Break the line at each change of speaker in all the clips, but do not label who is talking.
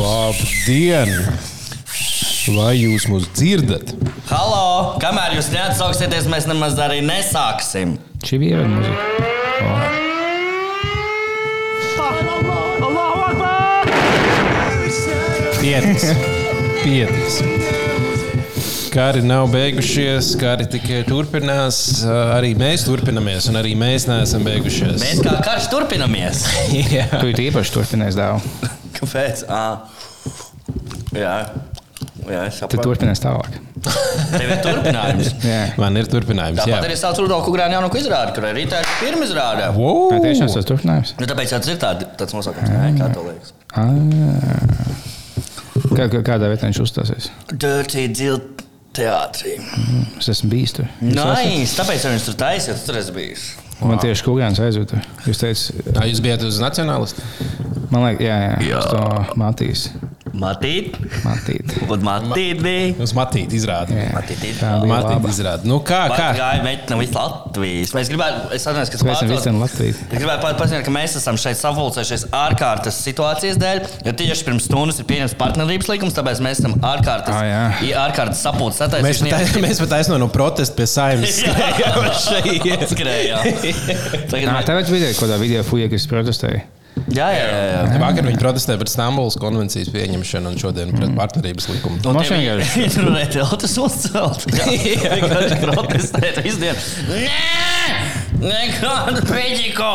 Labdien! Vai jūs mūs dzirdat?
Halo! Kamēr jūs neatsauksieties, mēs nemaz arī nesāksim.
Čia vyra muzika.
Pietiks. Pietiks. Kari nav beigušies, kari tikai turpinās. Arī mēs turpinamies, un arī mēs neesam beigušies.
Mēs kā karš turpinamies.
Jā.
Tu ir īpaši turpinājis dāvu.
Kāpēc? À. Jā, jā es
Tu
saprotu.
turpinās tālāk.
Tev ir turpinājums.
Jā.
Man ir turpinājums.
Tāpat
Jā,
arī sauc Rudolfu Grānu jaunu izrādi, kur arī tā ir pirmā izrāde.
wow.
Vai tiešām tas turpinājums?
Nu, tāpēc jau tas ir tād, tāds nosaukums, Nē, kā to liekas.
Ā. Kā, kā- kādā vietā viņš uzstāsies?
Dirty Dill teātrī.
Es esmu bijis tur. Jūs esat?
Nē, tāpēc jau viņš tur taisīja, tur es biju.
Man tieši Kungāns aizjūta. Jūs teicāt,
Ā, jūs bijat uz nacionālistu?
man liekas, jā, jā, jā. uz to Matīs.
Matīt,
Matīt.
un matīt bija.
Uz matīti izrādi.
Jā.
Matīt ir.
Tā bija
Matīti
laba.
izrādi. Nu, kā,
Kā
kā?
gāja meitene visā Latvijas? Mēs gribējām, es atceros, ka
Sveicam visiem Latviju.
Es gribēju pat paziņot, ka mēs esam šeit savulcējušies ārkārtas situācijas dēļ, jo tieši pirms stundas ir pieņemts partnerības līgums, tāpēc mēs esam ārkārtas,
Ā, Ah, jā.
i- ārkārtas sapulces
Mēs pat
sataisījušies.
tais- mēs pat aizsnojam no protesta pie saimnes.
Jā.
šeit.
Nā,
Tagad, mēs-
tāpēc bija kaut kādā video fuja, kas protestēja.
jā, jā, jā, jā.
Vakar viņi protestēja pret Stambulas konvencijas pieņemšanu un šodien pret partnerības likumu.
Un
Mums
tie viņi-
vienkārši-
Viņi tur bija teltis uzcelt. Jā, vienkārši protestēt visu dienu. Nē! Nekādu peģiko!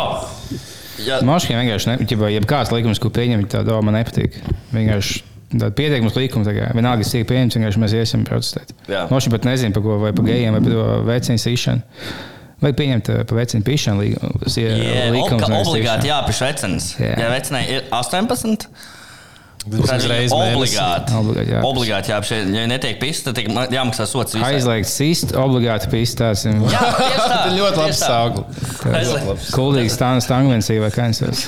Jā,
Mašīna Nu, vienkārši ne, ķipa, jebkāds likums, ko pieņemt, tā doma nepatīk. Vienkārši tāda pieteikums likuma, tā kā vienalga, kas tiek pieņemts, vienkārši mēs iesim protestēt.
Jā.
Mašīna pat nezina, par ko, vai par gejiem, vai par to veicinu sīšanu. Vai pieņemt eh, par veicinu pīšanu likumu?
Jā, obka- obligāti jāpieš vecenas.
Jā.
Ja vecenai ir 18,
Tas
tad
uzreiz
ir obligāti.
Obligāti jāpiš.
Obligāti jāpieš. Ja netiek pista, tad tiek ma- jāmaksā sots visai.
Aizliegt sist, obligāti pīstās.
Jā, tieši tā.
Tas ir ļoti labs
tieši tā.
sākums.
Aizliegt.
Kuldīgs stāsts, tangvencija vai kāds cits.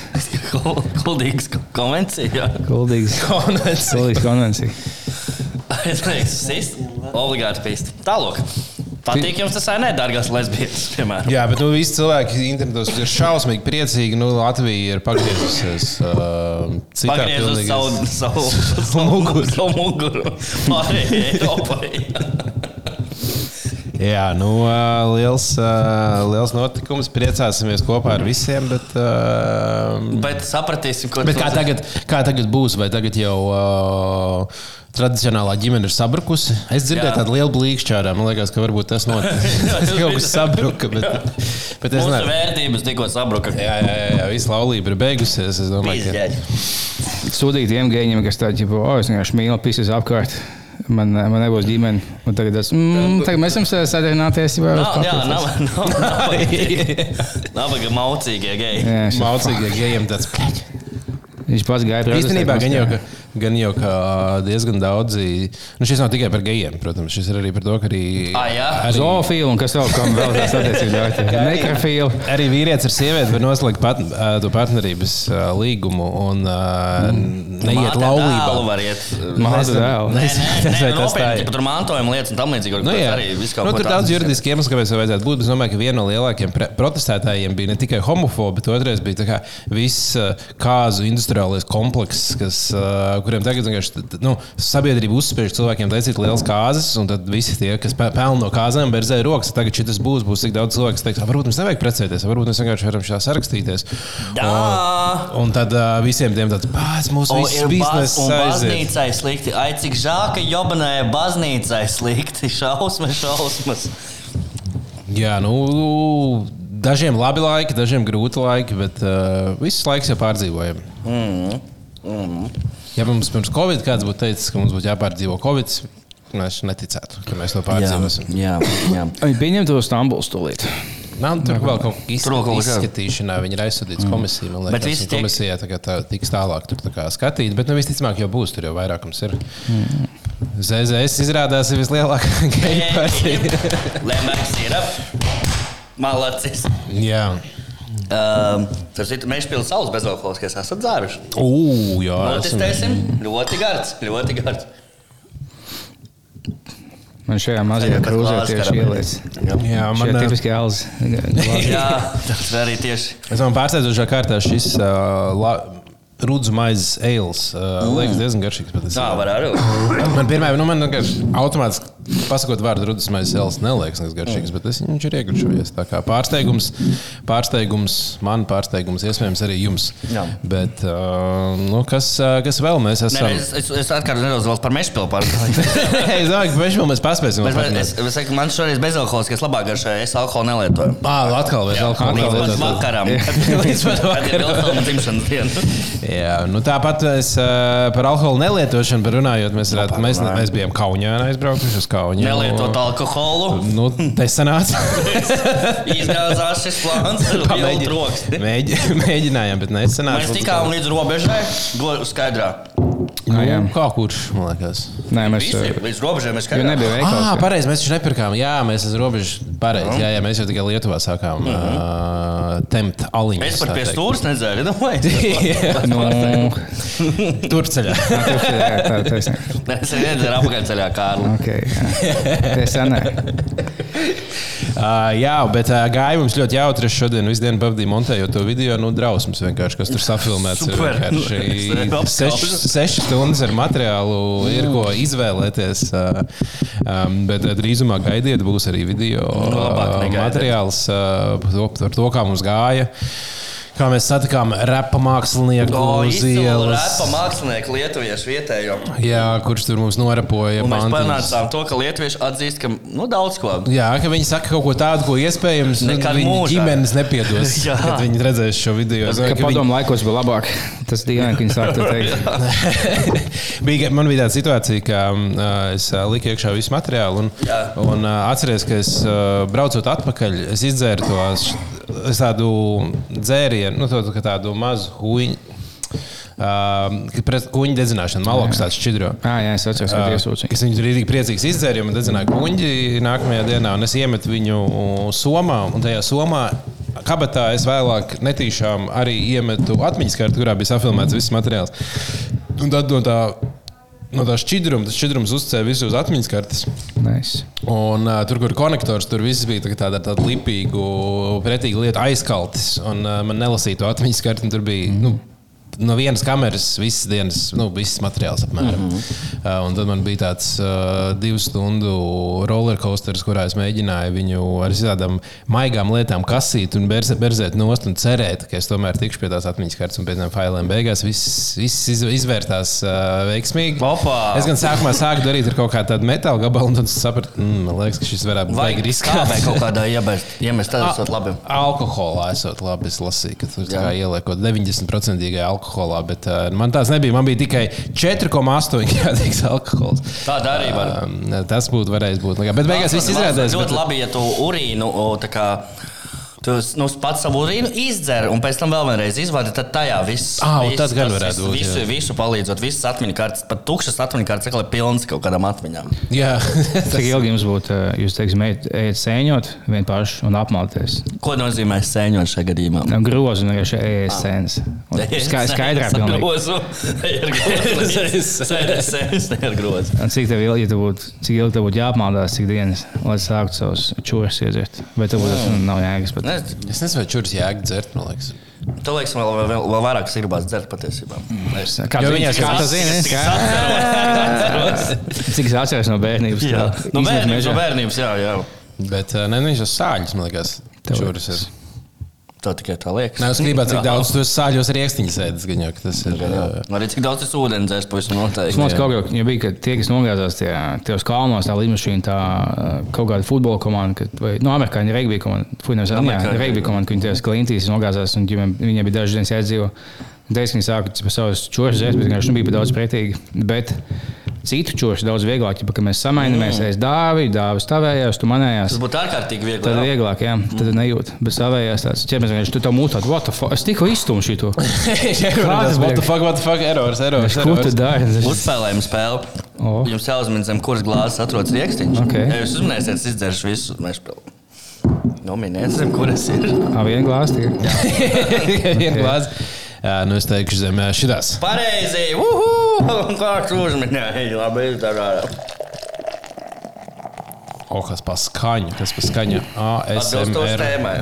Kul- Kuldīgs konvencija. jā.
Kuldīgs.
Konvencija.
Kuldīgs konvencija.
Aizliegt sist, obligāti pista. Tālāk. Patīk jums tas vai nē, dārgās lesbietes, piemēram.
Jā, bet nu, visi cilvēki internetos ir šausmīgi priecīgi. Nu, Latvija ir pagriezusies uh, citā
Pagriezus savu, savu, savu muguru. Savu muguru. Pārējai Eiropai.
Jā, nu, uh, liels, uh, liels notikums. Priecāsimies kopā ar visiem. Bet, uh,
Bet sapratīsim, ko
bet kā, tagad, kā tagad būs? Vai tagad jau uh, tradicionālā ģimene ir sabrukusi? Es dzirdēju
Jā.
tādu lielu blīkšķi ārā. Man liekas, ka varbūt tas notiek. Tas kaut kas sabruka. Bet, bet es
Mūsu
nezinu.
vērtības tikko sabruka.
Jā, jā, jā, jā, viss laulība ir beigusies. Es domāju, ka
Pizdeļ.
sūtīt tiem gēņiem, kas tādi ir, oh, es vienkārši mīlu, pisas apkārt. Man, man nebūs ģimene. Un tagad, es, mm, tagad mēs esam sa- sadarbināties jau
Nav, jā,
ar
nav, nav, nav, nabaga maucīgie geji.
Latviju.
Mācīgi, ja gejiem tāds pēc.
Viņš pats gāja pie
Īstenībā gan jau, ka, gan jau ka diezgan daudzi. Nu, šis nav tikai par gejiem, protams. Šis ir arī par to, ka arī,
Ā, jā?
Zoofīlu un kas vēl kam vēl tāds attiecības ļoti. Nekrofīlu.
arī vīrietis ar sievieti var noslēgt pat, ā, to partnerības ā, līgumu un ā, neiet
Mm. Māte dēlu
laulībā.
var iet.
Māzu
Nezinu.
dēlu.
Nē,
Nezinu, tas
nē,
vai
nē,
tas tā
nopietni,
ir.
ka tur mantojuma lietas un tam līdzīgi.
Nu, jā.
arī viss kaut
nu,
ko
tur
tādu.
daudz juridisku iemeslu, kāpēc tam vajadzētu būt. bet Es domāju, ka viena no lielākajiem pre- protestētājiem bija ne tikai homofobi, bet otrais bija tā kā viss uh, kāzu industriālais komplekss, kas, uh, kuriem tagad vienkārši t- t- nu, sabiedrība uzspiež cilvēkiem taisīt lielas kāzas, un tad visi tie, kas pe- pelna no kāzām, berzē rokas. Tagad šis būs, būs tik daudz cilvēku, kas teiks, "Ā, varbūt mums nevajag precēties, varbūt mēs vienkārši varam šā sarakstīties.
Jā.
Un, un tad uh, visiem tiem tāds pats mūsu
O,
viss
ir baz-
biznesa
un
aiziet.
baznīcai slikti. Ai, cik žēl, ka Jobanai baznīcai slikti. Šausmas, šausmas.
Jā, nu, dažiem labi laiki, dažiem grūti laiki, bet uh, viss laiks jau pārdzīvojam. Mm. Mm.
Mm-hmm.
Ja mums pirms Covid kāds būtu teicis, ka mums būtu jāpārdzīvo Covid, mēs neticētu, ka mēs to pārdzīvosim.
jā, jā.
Viņi pieņem to Stambulu stulīt.
Nav tur vēl kaut kā
Tur vēl kaut
izskat-
kas, jā.
izskatīšanā, viņi ir aizsūtīti mm. komisijai. Man
Bet
liekas,
visi
un
tiek-
komisijā tā kā tā, tiks tālāk tur tā kā skatīt, bet nu, visticamāk jau būs, tur jau vairākums ir. Mm. ZZS izrādās ir vislielākā gēna partija.
Lemons ir ap. Malacis.
Jā,
Um, Tur citur mēs spēlējam savus bezalkoholiskus, kas esat dzēruši.
Ū, jā esam-
Notestēsim. Ļoti garš, ļoti garš.
Man Man šajā mazajā
Tagad pat
krūzē
glāzi
tieši
karam.
ielaicis.
Jā,
Man
man, eh,
ir
ā,
tipiski Alans.
Jā, tas arī tieši.
Es domāju, pārsteidzošā kārtā šis uh, la, rudzu maizes eils uh, mm. liekas diezgan garšīgs.
Tā
patiesībā.
var arī būt.
Man pirmā, nu, man vienkārši automātiski pasakot vārdu rudas maizes elis neliekas nekas garšīgs, bet es viņš ir iegrižojies. Tā kā pārsteigums, pārsteigums, man pārsteigums, iespējams arī jums.
Jā.
Bet, uh, nu, kas, uh, kas vēl mēs
Nē,
esam?
es es, es atkārtoju nedaudz vēl par mežpilu. pār-
es domāju, ka bežam mēs paspēsim.
Bet man-
parunāt.
Es, es saku, man šoreiz bezalkohols, kas labāk garšo, es alkoholu nelietoju.
Ā, atkal vēl atkal
Līdz
vēl atkal.
pat vakaram.
Līdz pat
Kad ir
vakaram.
Vilhelma dzimšanas diena.
Jā, nu tāpat es, uh, par alkohola nelietošanu par runājot.
Nu,
Mēs, varētu, mēs,
parunājam.
mēs bijām Kaunijā, aizbraukuši uz Kaunu.
Nelietot alkoholu.
Nu, tā sanāca.
Izgāzās šis plāns. Pamēģi rokas.
Mēģi- mēģi- Mēģinājām, bet nesanāca.
Mēs tikām līdz robežai, go- skaidrā.
Nu,
Jā, jā.
kā kurš, man liekas.
Nē, mēs.
Visi līdz robežai mēs
Jo nebija
skaidrā.
veikals.
Ah, pareizi, mēs taču nepirkām. Jā, mēs esam robežu
Nu.
pareizi. Jā, jā, mēs jau tikai Lietuvā sākām uh, tempt aliņus.
Es pat
tā
Mhm. pie
teikt.
stūres nu, nedzēru.
Jā,
Nu,
Turceļā.
tā ir tā taisnība.
Nē, Es arī nedzēru apakaļceļā, Kārli.
Ok, jā. Tā sanāk.
Nu, Uh, jā, bet uh, gāja mums ļoti jautri. Es šodien visu dienu pavadīju montējot to video. Nu, drausmas vienkārši, kas tur safilmēts. ir
Super.
vienkārši
Apskaužu.
seši- Sešas stundas ar materiālu ir ko izvēlēties. Uh, um, bet uh, drīzumā gaidiet, būs arī video
Nu, labāk
uh,
negaidiet.
materiāls uh, par to, par to, kā mums gāja. Kā mēs satikām repa mākslinieku
O,
uz
izcilu repa
ielas.
mākslinieku lietuviešu vietējo.
Jā, kurš tur mums norapoja?
Un mēs
pantiņas.
panācām to, ka lietuvieši atzīst, ka nu, daudz ko.
Jā, ka viņi saka kaut ko tādu, ko iespējams nu,
Nekad
viņa
mūžā.
ģimenes nepiedos.
Jā.
kad viņi redzēs šo video. Es domāju,
Kā
ka viņi-
padomu laikos bija labāk. Tas dīvaini, ka viņi sāk to teikt.
bija, man bija tāda situācija, ka uh, es uh, liku iekšā visu materiālu. Un,
Jā.
un uh, atceries, ka es uh, braucot atpakaļ, es izdzēru to š- es tādu dzērienu, nu, to, tā- tādu mazu huīņu. Uh, pret kuģi dedzināšanu, maloks tāds šķidro.
Ah, jā, es atceros, ka tiesūdzīju.
Es viņu tur īstenībā priecīgs izdzēru, jo man dedzināja kuģi nākamajā dienā, un es iemetu viņu somā. Un tajā somā kabatā es vēlāk netīšām arī iemetu atmiņas karti, kurā bija safilmēts viss materiāls. Un tad no tā, no tā šķidruma, tas šķidrums uzcēla visu uz atmiņas kartes.
Nice.
Un, uh, tur, kur bija konektors, tur viss bija tā kā tāda, tāda lipīga, pretīga lieta, aizkaltis. Un, uh, man nelasīja to atmiņas karti. un Tur bija nu, no vienas kameras visas dienas, nu, visas materiāls apmēram. Mm -hmm. uh, un tad man bija tāds uh, divu stundu rollercoaster, kurā es mēģināju viņu ar tādām maigām lietām kasīt un berze- berzēt nost un cerēt, ka es tomēr tikšu pie tās atmiņas kartes un pie tiem failiem. Beigās viss, viss iz- izvērtās uh, veiksmīgi.
Opa!
Es gan sākumā sāku darīt ar kaut kādu metāla gabalu, un tad es sapratu, mm, man liekas, ka šis varētu būt
Vajag riskēt
riskants.
kaut kādā iebēst. Iemest tad esot labi.
Alkoholā esot labi. Es lasīju, ka tur tā
Jā.
kā ieliekot 90% alkoholā, bet uh, man tās nebija. Man bija tikai 4,8% alkohola.
Tāda arī var.
Tas būtu varējis būt. nekā. Bet beigās viss izrādās.
ļoti
Bet,
labi, ja tu urīnu o, tā kā. Tu nu, pats savu urīnu izdzer, un pēc tam vēl vienreiz izvadi. Tad tajā viss
Ā, un
viss-
tad gan
tas
varētu
viss-
būt,
Visu,
jā.
visu palīdzot, visas atmiņu kārtas, pat tukšas atmiņu kārtas, kā lai pilns kaut kādām atmiņām.
jā,
Cik ilgi jums būtu, ā, jūs teiksim, ejiet ejiet sēņot vienkārši un apmalties?
Ko nozīmē sēņot šajā gadījumā?
Nav grozu, nu, ja šeit ejiet
Ah.
sēnes. Un skai- Skaidrā pilnīgi.
grozu. Ir grozu. Sēnes, sēnes, ir grozu.
Un cik tev ilgi, ja tev būtu, cik ilgi tev būtu jāapmaldās, cik dienas, lai sāktu savus čūras iedzert? Vai tev būtu, nu, nav jēgas pat?
Ne,
es nezinu, vai čurus jēga dzert, man liekas.
Tu liekas, vēl, vēl, vēl- vēl vairāk sirbās dzert patiesībā. Es-
Kā
Jo
tu
viņas
zini, kā tu
katrs-
zini?
Es
kā- Cik es atceros no bērnības?
Jā,
tā
no
izmet
bērnības,
mežā.
no bērnības, jā, jā.
Bet uh, ne viņš ir sāļus, man liekas.
Tev
Čurus ir.
Tā tikai tā liekas.
Nē, es gribētu, cik daudz tos sāļos ir iekstiņas ēdas, gan jau ka tas ir.
Jā.
Uh,
Arī cik daudz tas ūdens dzērs, pavisam noteikti.
Mums kaut kādā veidā bija, ka tie, kas nogāzās tie, tajos kalnos, tā līnija, tā eh, kaut kāda futbola komanda, ka, vai no amerikāņu regbija komanda, fuņiem
Amerikāņu
zināmā regbija komanda, ka viņi tajās klintīs nogāzās un ģimene, viņiem bija dažas dienas jādzīvo. Dažreiz viņi sāka par savus čūskas zēst, bet vienkārši nu, bija pa daudz pretīgi. Bet citu čūsku daudz vieglāk, ja ka mēs samainamies, aiz dāvi, dāvis tavējās, tu manējās.
Tas būtu ārkārtīgi viegli.
Tad ir
jā.
vieglāk, jā, tad nejūt. Bet savējās tāds ķermenis vienkārši tu tā mūtā, what the fuck, es tikko izstumšu šo.
Jā, tas ir what the fuck, what the fuck, errors, errors.
Ko tu
errors.
dari?
Uzspēlējam spēli.
O.
Jums jāuzmina, zem kuras glāzes atrodas rīkstiņš.
Ok.
Ja jūs uzminēsiet, es izdzeršu visu mežpilnu. Nominēsim, zem kuras ir.
Ar vienu glāzi tikai.
Vienu glāzi. Jā, nu es teikšu, zem jā, šitās.
Pareizi! Uhu! Kā tu uzminēji? Labi, tā kā.
O, kas paskaņa, kas paskaņa.
Atbilstoši
ASMR.
tēmai.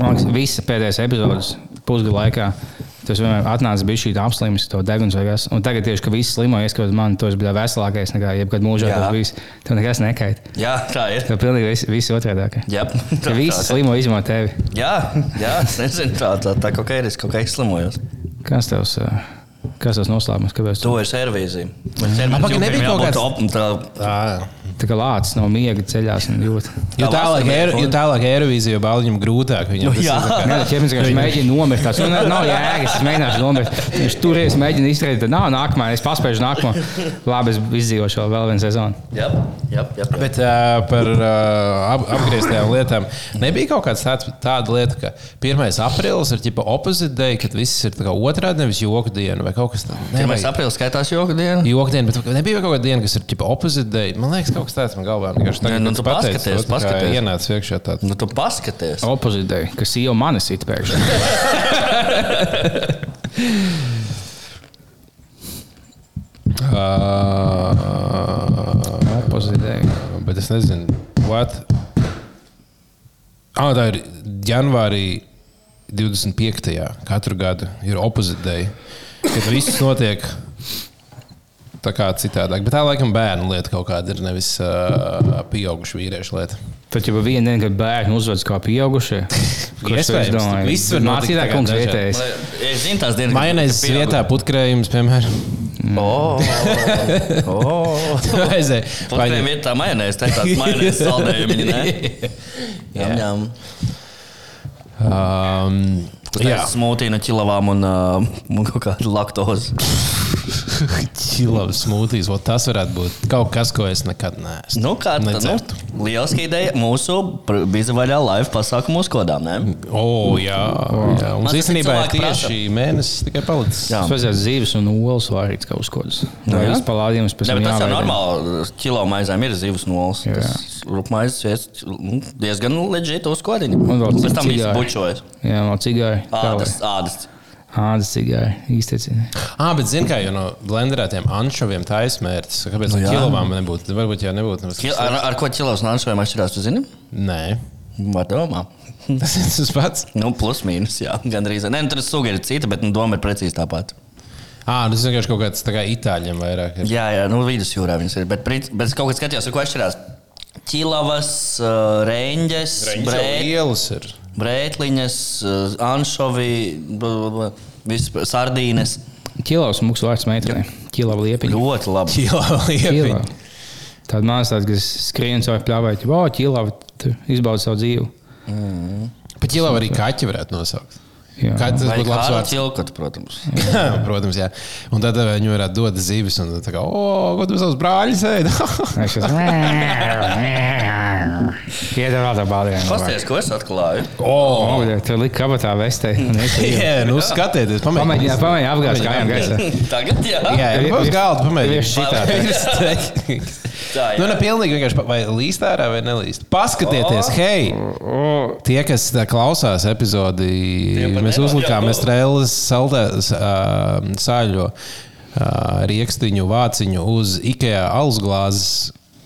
Man liekas, visas pēdējās epizodes pusgadu laikā. Tas vienmēr atnāca bija šī apslimis, to deguns vai kas. Un tagad tieši, ka visi slimo, ieskatot man, tas bija veselākais nekā jebkad mūžā.
Jā.
Tas bijis, tev nekas nekaitē.
Jā, tā ir.
Tev pilnīgi viss, viss otrādāk.
Jā,
Ka visi slimo izmo tevi.
Jā, jā, es nezinu, tā, tā, tā kaut kā ir. Es kaut kā izslimojos.
Kas tavs, ā, kas tavs noslēpums? Kāpēc tu
To es servīziju.
Apakaļ nebija kaut kāds-
kāds.
Tā.
tā kā lācis no miega ceļās un jūtas?
Jo
Tā
tālāk,
vasarā
Eiro-
ir
jo tālāk Eirovīzija, jo bāliņam grūtāk. Viņam
Nu,
tas ir
jā.
tā kā-
Nē, tas ķēpnis vienkārši mēģina nomirt. Tas nav, nav jēgas, es mēģināšu nomirt. Viņš turēs, mēģina izturēt. Tad nav nākamā, es paspēju nākamo. Labi, es izdzīvošu vēl- vēl vienu sezonu.
Jā, jā, jā.
Bet uh, par uh, ap, apgrieztajām lietām. Nebija kaut kāda tāda, tāda lieta, ka 1. aprīlis ir tipa opposite day, kad viss ir tā kā otrādi, nevis joku diena vai kaut kas tāds. Nē,
Pirmais aprīlis skaitās joku dienu.
Joku diena, bet nebija vēl kaut kāda diena, kas ir tipa opposite day. Man liekas, kaut kas tāds man galvā vienkārši
Nē, nu,
kad
tu
pateici
paskaties,
to, tā kā
paskaties.
Ienāca iekšā tāds.
Nu, tu paskaties.
Opozīcija, kas jau manis ir pēkšņi.
Uh,
Opozīcija.
bet es nezinu, what. Ah, tā ir janvārī 25. katru gadu ir opozīcija, kad viss notiek. Tā kā citādāk. Bet tā laikam bērnu lieta kaut kāda ir, nevis uh, pieaugušu vīriešu lieta.
Tad jau vienā dienā, kad bērni uzvedas kā pieaugušie, kurš to
Iespējams,
izdomāja,
viss var notikt
mācītāj
tagad
kungs
dažādi.
vietējais.
Es zinu, tās dienas.
Mainājas vietā putkrējums, piemēram.
Putnēm
Tu aizej, paņem-
ir tā majonēze, tā ir tāds majonēzes saldējumi. ne? Jām, jām.
Um, jā,
Jā, smūtiņa no ķilavām un, uh, un kaut kāda laktoze.
Čilavas smūtijas, vot tas varētu būt kaut kas, ko es nekad neesmu.
Nu, kā tā nu,
Necertu.
lieliski ideja mūsu pr- bizavaļā live pasākumu uzkodām, ne?
Mm,
O, jā, jā. Mums
Man tas
īstenībā ir
cilvēki prasa.
tieši mēnesis tikai palicis.
Jā.
Tas vajadzēja zīves un olas vārīt kā uzkodas.
Nu
Vai
jā.
viss palādījums pēc
Ne,
tam
bet tas jau
jāveido.
normāli. Kilo maizēm ir zivs nolas.
Jā.
Rūpmaizes vies- nu, diezgan leģīti uzkodiņi.
Un vēl
Pēc tam
cigāri.
viss bučojas.
Jā, no cigāja.
Ādas, ādas.
Ādas cigāja. Īstecina.
Ah, bet zini, kā jau no blenderētiem anšoviem tā ir smērts. Kāpēc no
Nu, jā.
kilovām nebūtu? Varbūt jau nebūtu. nemaz
Kil,
kas
ar, ar ko ķilos no anšoviem atšķirās, tu zini?
tāds. Nē,
Var domā.
tas ir tas pats.
Nu, plus mīnus, jā, gandrīz. Nē, nu, tur suga ir cita, bet nu, doma ir precīzi tā pati.
Ah, tas vienkārši kaut kāds tā kā itāļiem vairāk. ir.
Jā, jā, nu, vidusjūrā viņas ir. Bet, princ- bet es kaut kā skatījos, ar ko atšķirās. Ķilavas, uh, reņģes, brē-
Ielas ir.
brētliņas, uh, anšovi, bl- bl- bl- viss, sardīnes.
Kilovs mūks vārds meitenei. Kilava liepiņa.
Ļoti labi.
Kilava
Kilava.
liepiņa.
Tāda māsa tāds, kas skrien savu pļāvēt. O, kilava, tu izbaudi savu dzīvi.
Pat kilava arī kaķi varētu nosaukt.
Jā.
Kā tas būtu labs vārds?
Cilkot, protams.
Protams, jā. Un tad eh, viņi varētu dot zivis, un tā kā, o, ko tu savus brāļus ēdi?
Es esmu. Iedod vēl tā bādienu.
Pastāstiet, ko es atklāju.
O,
Pagaidiet, tu liki kabatā vestē. un esi-
jā, nu skatieties,
Pamēģini,
pamēģiniet.
pamēģini apgāzt kājām gaisā.
Tagad, jā,
Jā,
Ir-
jau uz
ir-
galda
ir
pamēģiniet.
šitādi.
Tā,
Tā
jā.
ir. Nu, ne pilnīgi vienkārši, pa- vai līst ārā vai nelīst. Paskatieties, hei! Tie, kas tā, klausās epizodi,
Tiem pat
mēs
nevar
uzlikām
jau.
estrēlas saldēs, ā, sāļo ā, riekstiņu, vāciņu uz IKEA alus glāzes,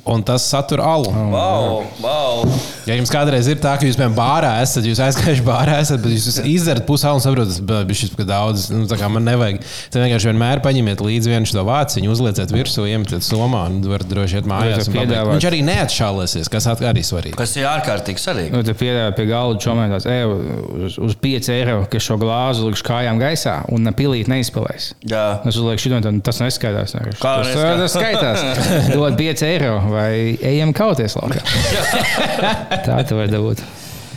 un tas satur alu.
Wow, wow.
Ja jums kādreiz ir tā, ka jūs piemēram bārā esat, jūs aizgājuši bārā, esat, bet jūs izdarāt pusi alu un saprotat, ka bija šis tik daudz, nu, tā kā man nevajag. Tad vienkārši vienmēr paņemiet līdzi vienu šo vāciņu, uzlieciet virsū, iemetiet somā un varat droši iet mājās.
Vai
un
tev
pabeigt.
piedāvāt?
Viņš arī neatšālēsies, kas at- arī svarīgi.
Kas ir ārkārtīgi svarīgi.
Nu, tad piedāvā pie galda čomētās, ej uz, uz 5 eiro, ka šo glāzi likšu kājām gaisā un pilīt neizpilēs.
Jā.
Es uzlieku šo tādu, tas neskaidrs.
Kā
tas tas
neskaitās?
skaitās. Dod 5 eiro vai ejam kauties laukā. Tā tu vari dabūt.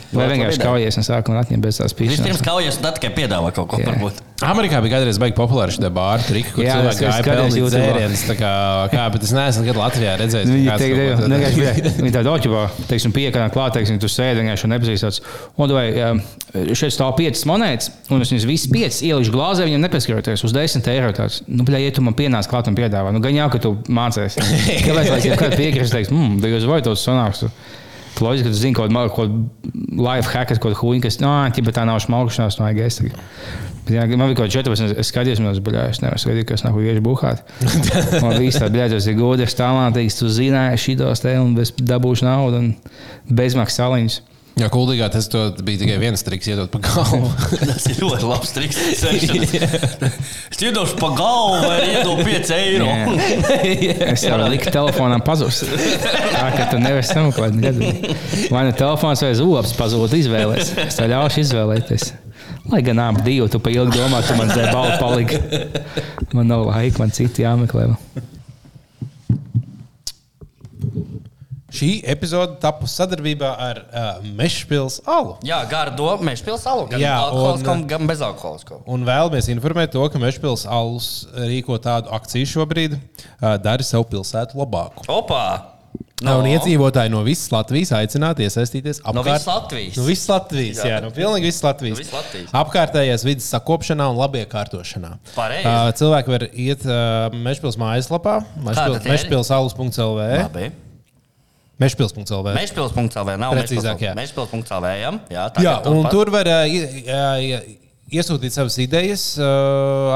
Vai
Ļoti
vienkārši
labi
kaujies un sāk un atņem bez tās
Vispirms
pīšanas.
kaujas, un tad tikai piedāvā kaut ko.
Jā.
varbūt.
Amerikā bija kādreiz baigi populāra šī bāra trika, kur
Jā,
cilvēki
es- es
gāja
kādreiz
pelnīt
YouTube-ā.
dzērienus. tā Kā, kā, bet es neesmu nekad Latvijā redzējis.
Viņa
ka kāds
teikt,
kaut ko
ej,
tādu-
vienkārši, ej, viņa tāda oķībā, teiksim, piekrāna klāt, teiksim, tu sēdi vienkārši un nepazīstās. Un vai šeit stāv piecas monētas, un es viņas visas piecas ielikšu glāzē, viņam nepieskaroties uz desmit eiro. Tāds, nu, bļā, ja tu man pienāc klāt un "Mm, piedāvā, nu, gan jau, ka tu mācies. Kāpēc, lai kāds piekrist, teiks, mmm, vai jūs vai tos sanākstu? Tu Loģiski, ka tu zini, kaut kāda life hackers, kaut kāda huīna, kas no, ķipa, tā nav smalkšanās, no gēsta. Jā, man bija kaut kāda 14, es skatījos, man bija jāsaka, es nevaru skatīties, kas nāk, vieši buhāt. Man bija tā, bļaļ, tas ir gudrs, talantīgs, tu zināji šitos te un bez dabūšu naudu un bezmaksas saliņas.
Jā, kuldīgā tas to bija tikai viens triks, iedot pa galvu.
Tas ir ļoti labs triks. Es iedodu pa galvu, vai iedodu 5 eiro.
Es jau liku telefonam pazust. Tā kā tu nevis sameklēji gadu. Vai nu telefons vai zobs pazūd, izvēlēties. Es tev ļaušu izvēlēties. Lai gan abi divi, tu pa ilgi domā, tu man zēni balvu paliki. Man nav laika, man citi jāmeklē.
Šī epizode tapu sadarbībā ar uh, Mešpils Alu.
Jā, gardo, mēs pilsētu. Gan
Jā,
alkoholiskam,
un- eh,
gan bezalkoholiskam.
Un vēlamies informēt to, ka Mešpils Alus rīko tādu akciju šobrīd, uh, dari savu pilsētu labāku.
Opa!
No. Un iedzīvotāji no visas Latvijas aicināti iesaistīties apkārt...
visas Latvijas?
No visas Latvijas, jā, jā no pilnīgi visas Latvijas.
No visas Latvijas.
Apkārtējās vidas sakopšanā un labiekārtošanā.
Pareizi.
Ā, cilvēki var iet uh, Mešpils mājaslapā,
Kā tad ir?
mešpilsalus.lv.
Labi.
Mešpils.lv.
Mēžpilsēta.CLV nav
Precīzāk, jā.
Mēžpilsēta.CLV. Jā, tā
Jā, un tur var ā, i- ā, i- iesūtīt savas idejas ā,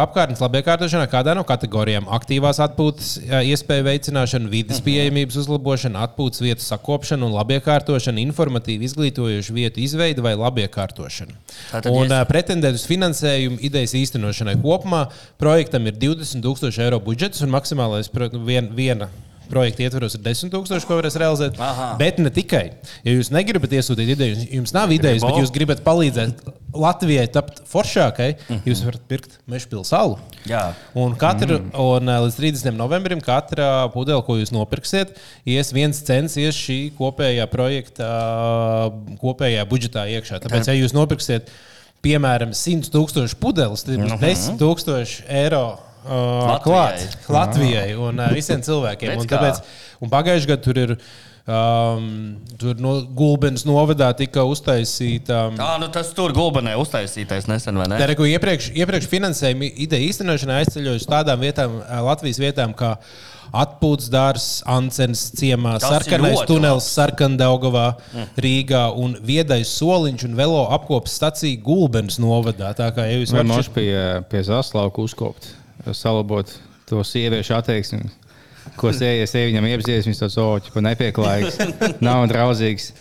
apkārtnes labiekārtošanā, kādā no kategorijām - aktīvās atpūtas, ā, iespēju veicināšana, vidas pieejamības uzlabošana, atpūtas vietu sakopšana un labiekārtošana, informatīvu izglītojošu vietu izveide vai labiekārtošana.
Tātad
Un
ies-
ā, pretendēt uz finansējumu idejas īstenošanai kopumā projektam ir 20 000 eiro budžets un maksimālais pro- nu, vien, viena. Projekta ietvaros ir 10,000, ko varēs realizēt.
Aha.
Bet ne tikai. Ja jūs negribat iesūtīt ideju, jums nav idejas, bet
Gribu.
jūs gribat palīdzēt Latvijai tapt foršākai, jūs varat pirkt mežpilsālu.
Jā.
Un katru
Mm.
un, eh, līdz 30. novembrim katra pudele, ko jūs nopirksiet, ies viens cents ies šī kopējā projekta, eh, kopējā budžetā iekšā. Tāpēc, ja jūs nopirksiet, piemēram, 100 tūkstošu pudeles, tad būs 10 tūkstoši eiro. Uh,
Mhm. Latvijai.
klāt Latvijai un uh, visiem cilvēkiem.
Redz
Un
kā.
tāpēc Un pagājušajā gadā tur ir um, tur no Gulbens novadā tika uztaisīta. Um,
Tā, nu tas tur gulbenē uztaisītais nesen, vai ne?
Tā ir ko iepriekš, iepriekš finansējuma ideja īstenošanā aizceļojuši tādām vietām, ā, Latvijas vietām, kā atpūtas dārzs, Ancens ciemā,
Tas ir
sarkanais
ļoti Mm.
tunelis, Sarkandaugovā, Rīgā un viedais soliņš un velo apkopes stacija Gulbens novadā. Tā kā ja jūs
Vai
varat
mums pie, pie zaslauka uzkopt, salabot to sieviešu attieksmi? Ko es eju, es eju viņam iepazinies, viņš tāds oķis, ko nepieklājīgs, nav draudzīgs.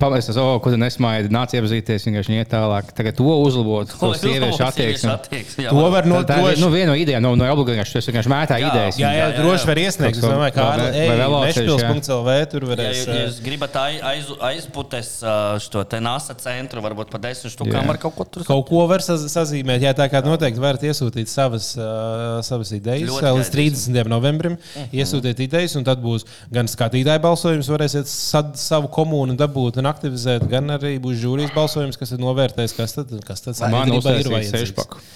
Pamēs tas, oh, ko tu nesmaidi, nāc iepazīties, vienkārši iet tālāk. Tagad to uzlabot, to sieviešu attieksmi.
To var
No, tā ir
nodrošināt.
nu, viena no idejām, no, no obligāti, tas vienkārši mētā
Jā,
idejas.
Jā, jā,
Jā, jā,
droši
jā.
var iesniegt. Es
Kaut
domāju, ka
kā
tā
vai- vai
ir
vēl atsevišķi, jā.
Mešpils.lv. Tur
Ja
varēs. eh,
jūs,
ā,
jūs gribat ai- aiz, aizputes ā, šo te nāsa centru, varbūt par desmit
Jā.
stūkām ar kaut ko tur
Kaut ko var saz sazīmēt. Jā, tā kā noteikti varat iesūtīt savas, uh, savas idejas.
Ļoti
Ā, Līdz
gaidīsim.
30. novembrim iesūtiet idejas, un tad būs gan skatītāju balsojums, varēsiet sad, savu komunu dabūt un aktivizēt, gan arī būs žūrijas balsojums, kas ir novērtējis, kas tad, kas tad
Man
sabiedrībā
uztaisīja
vajadzīgs.
sešpaku.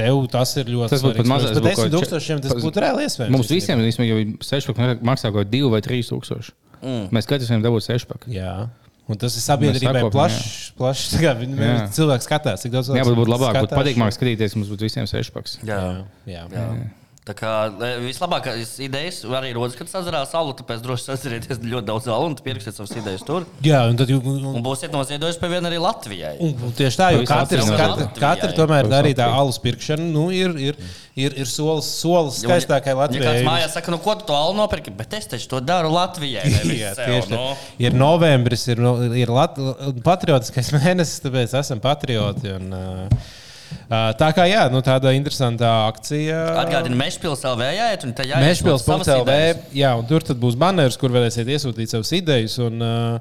Tev tas ir ļoti
Tas būtu pat mazais,
Par
būtu kaut
10
čet-
tūkstošiem tas
pat-
būtu reāli iespējams.
Mums visiem īstenībā, jau ir sešpakas maksā kaut 2 vai 3 tūkstoši. Mm. Mēs katrs varam dabūt sešpaku.
Jā. Un tas ir sabiedrībai
sakopam,
plašs. plašs tā kā viņi-
Jā.
Cilvēks skatās, cik daudz
Jā,
cilvēks
bet būtu labāk, būtu
skatās.
patīkamāk skatīties, mums būtu visiem sešpakas.
Jā.
Jā.
Jā. Tā kā e, vislabākās idejas arī rodas, kad sazināties alu, tāpēc droši sazināties ļoti daudz alu un pierakstiet savas idejas tur.
Jā, un tad jū- un-
Un būsiet noziedojuši pie viena arī Latvijai.
Un, un tieši tā, jo
Pavisam
katrs,
atsevišķi.
katra,
Latvijā,
katra
jā.
tomēr
Pavisam
arī tā
atsevišķi.
alus pirkšana nu, ir, ir, ir, ir solis, solis
Ja man-
skaistākai
Ja
Latvijai.
kāds mājās saka, nu ko tu to alu nopirki, bet es taču to daru Latvijai. nevis
Jā,
sev,
tieši tā.
nu.
Ir novembris, ir, no- ir lat, patriotiskais mēnesis, tāpēc esam patrioti. Un, uh, uh, tā kā jā, nu, tāda interesanta akcija.
Atgādini, Mešpilsēta vējiet, un tajā
Mēžpils.CLV. Jā, un tur tad būs banners, kur varēsiet iesūtīt savas idejas. Un, uh,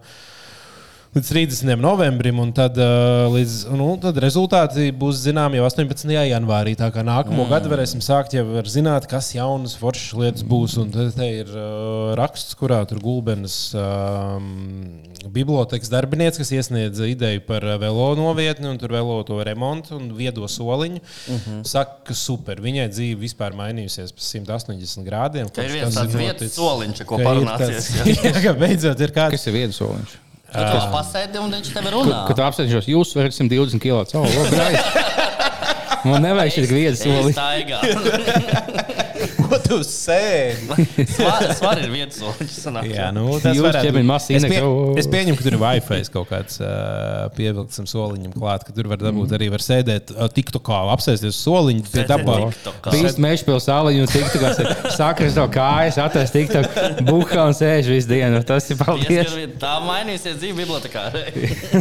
Līdz 30. novembrim, un tad, uh, līdz, nu, tad rezultāti būs zināmi jau 18. janvārī. Tā kā nākamo mm. gadu varēsim sākt jau ar zināt, kas jaunas foršas lietas būs. Un tad te ir uh, raksts, kurā tur gulbenes um, bibliotekas darbinieks, kas iesniedz ideju par uh, velo novietni, un tur velo to remontu un viedo soliņu. Mm
Mhm.
-hmm. Saka, ka super. Viņai dzīve vispār mainījusies pa 180 grādiem.
Te ir
kopš
viens
tas
tāds
ir
vietas
noticis.
soliņš, ko
Ka ir
parunāties.
tāds- Jā, ka beidzot ir kāds.
Kas ir viens soliņš?
Tu to pasēdi un viņš tevi runā.
Kad apsēžos, jūs varat 120 kilo Oh, caur logu. Man nevajag šeit griezties soli.
Tā ir gala.
Ko tu tu sēdi?
Svar, svar ir viens solis. sanāk.
Jā, nu, tas
Jūs
varētu
ķebeņu
būt.
masa
es, pie,
inek-
es pieņemu, ka tur ir Wi-Fi kaut kāds uh, pievilkts soliņam klāt, ka tur var dabūt arī var sēdēt, tiktu kā apsēsties uz soliņa, pie
Sēdēt
dabā.
TikTokā.
Pīst mežpils sāliņu un tiktu, kas ir sakras no kājas, atrast tiktu, buhā un sēž visu dienu. Tas ir paldies.
Ieskriet, Tā mainīsies dzīve bibliotekā.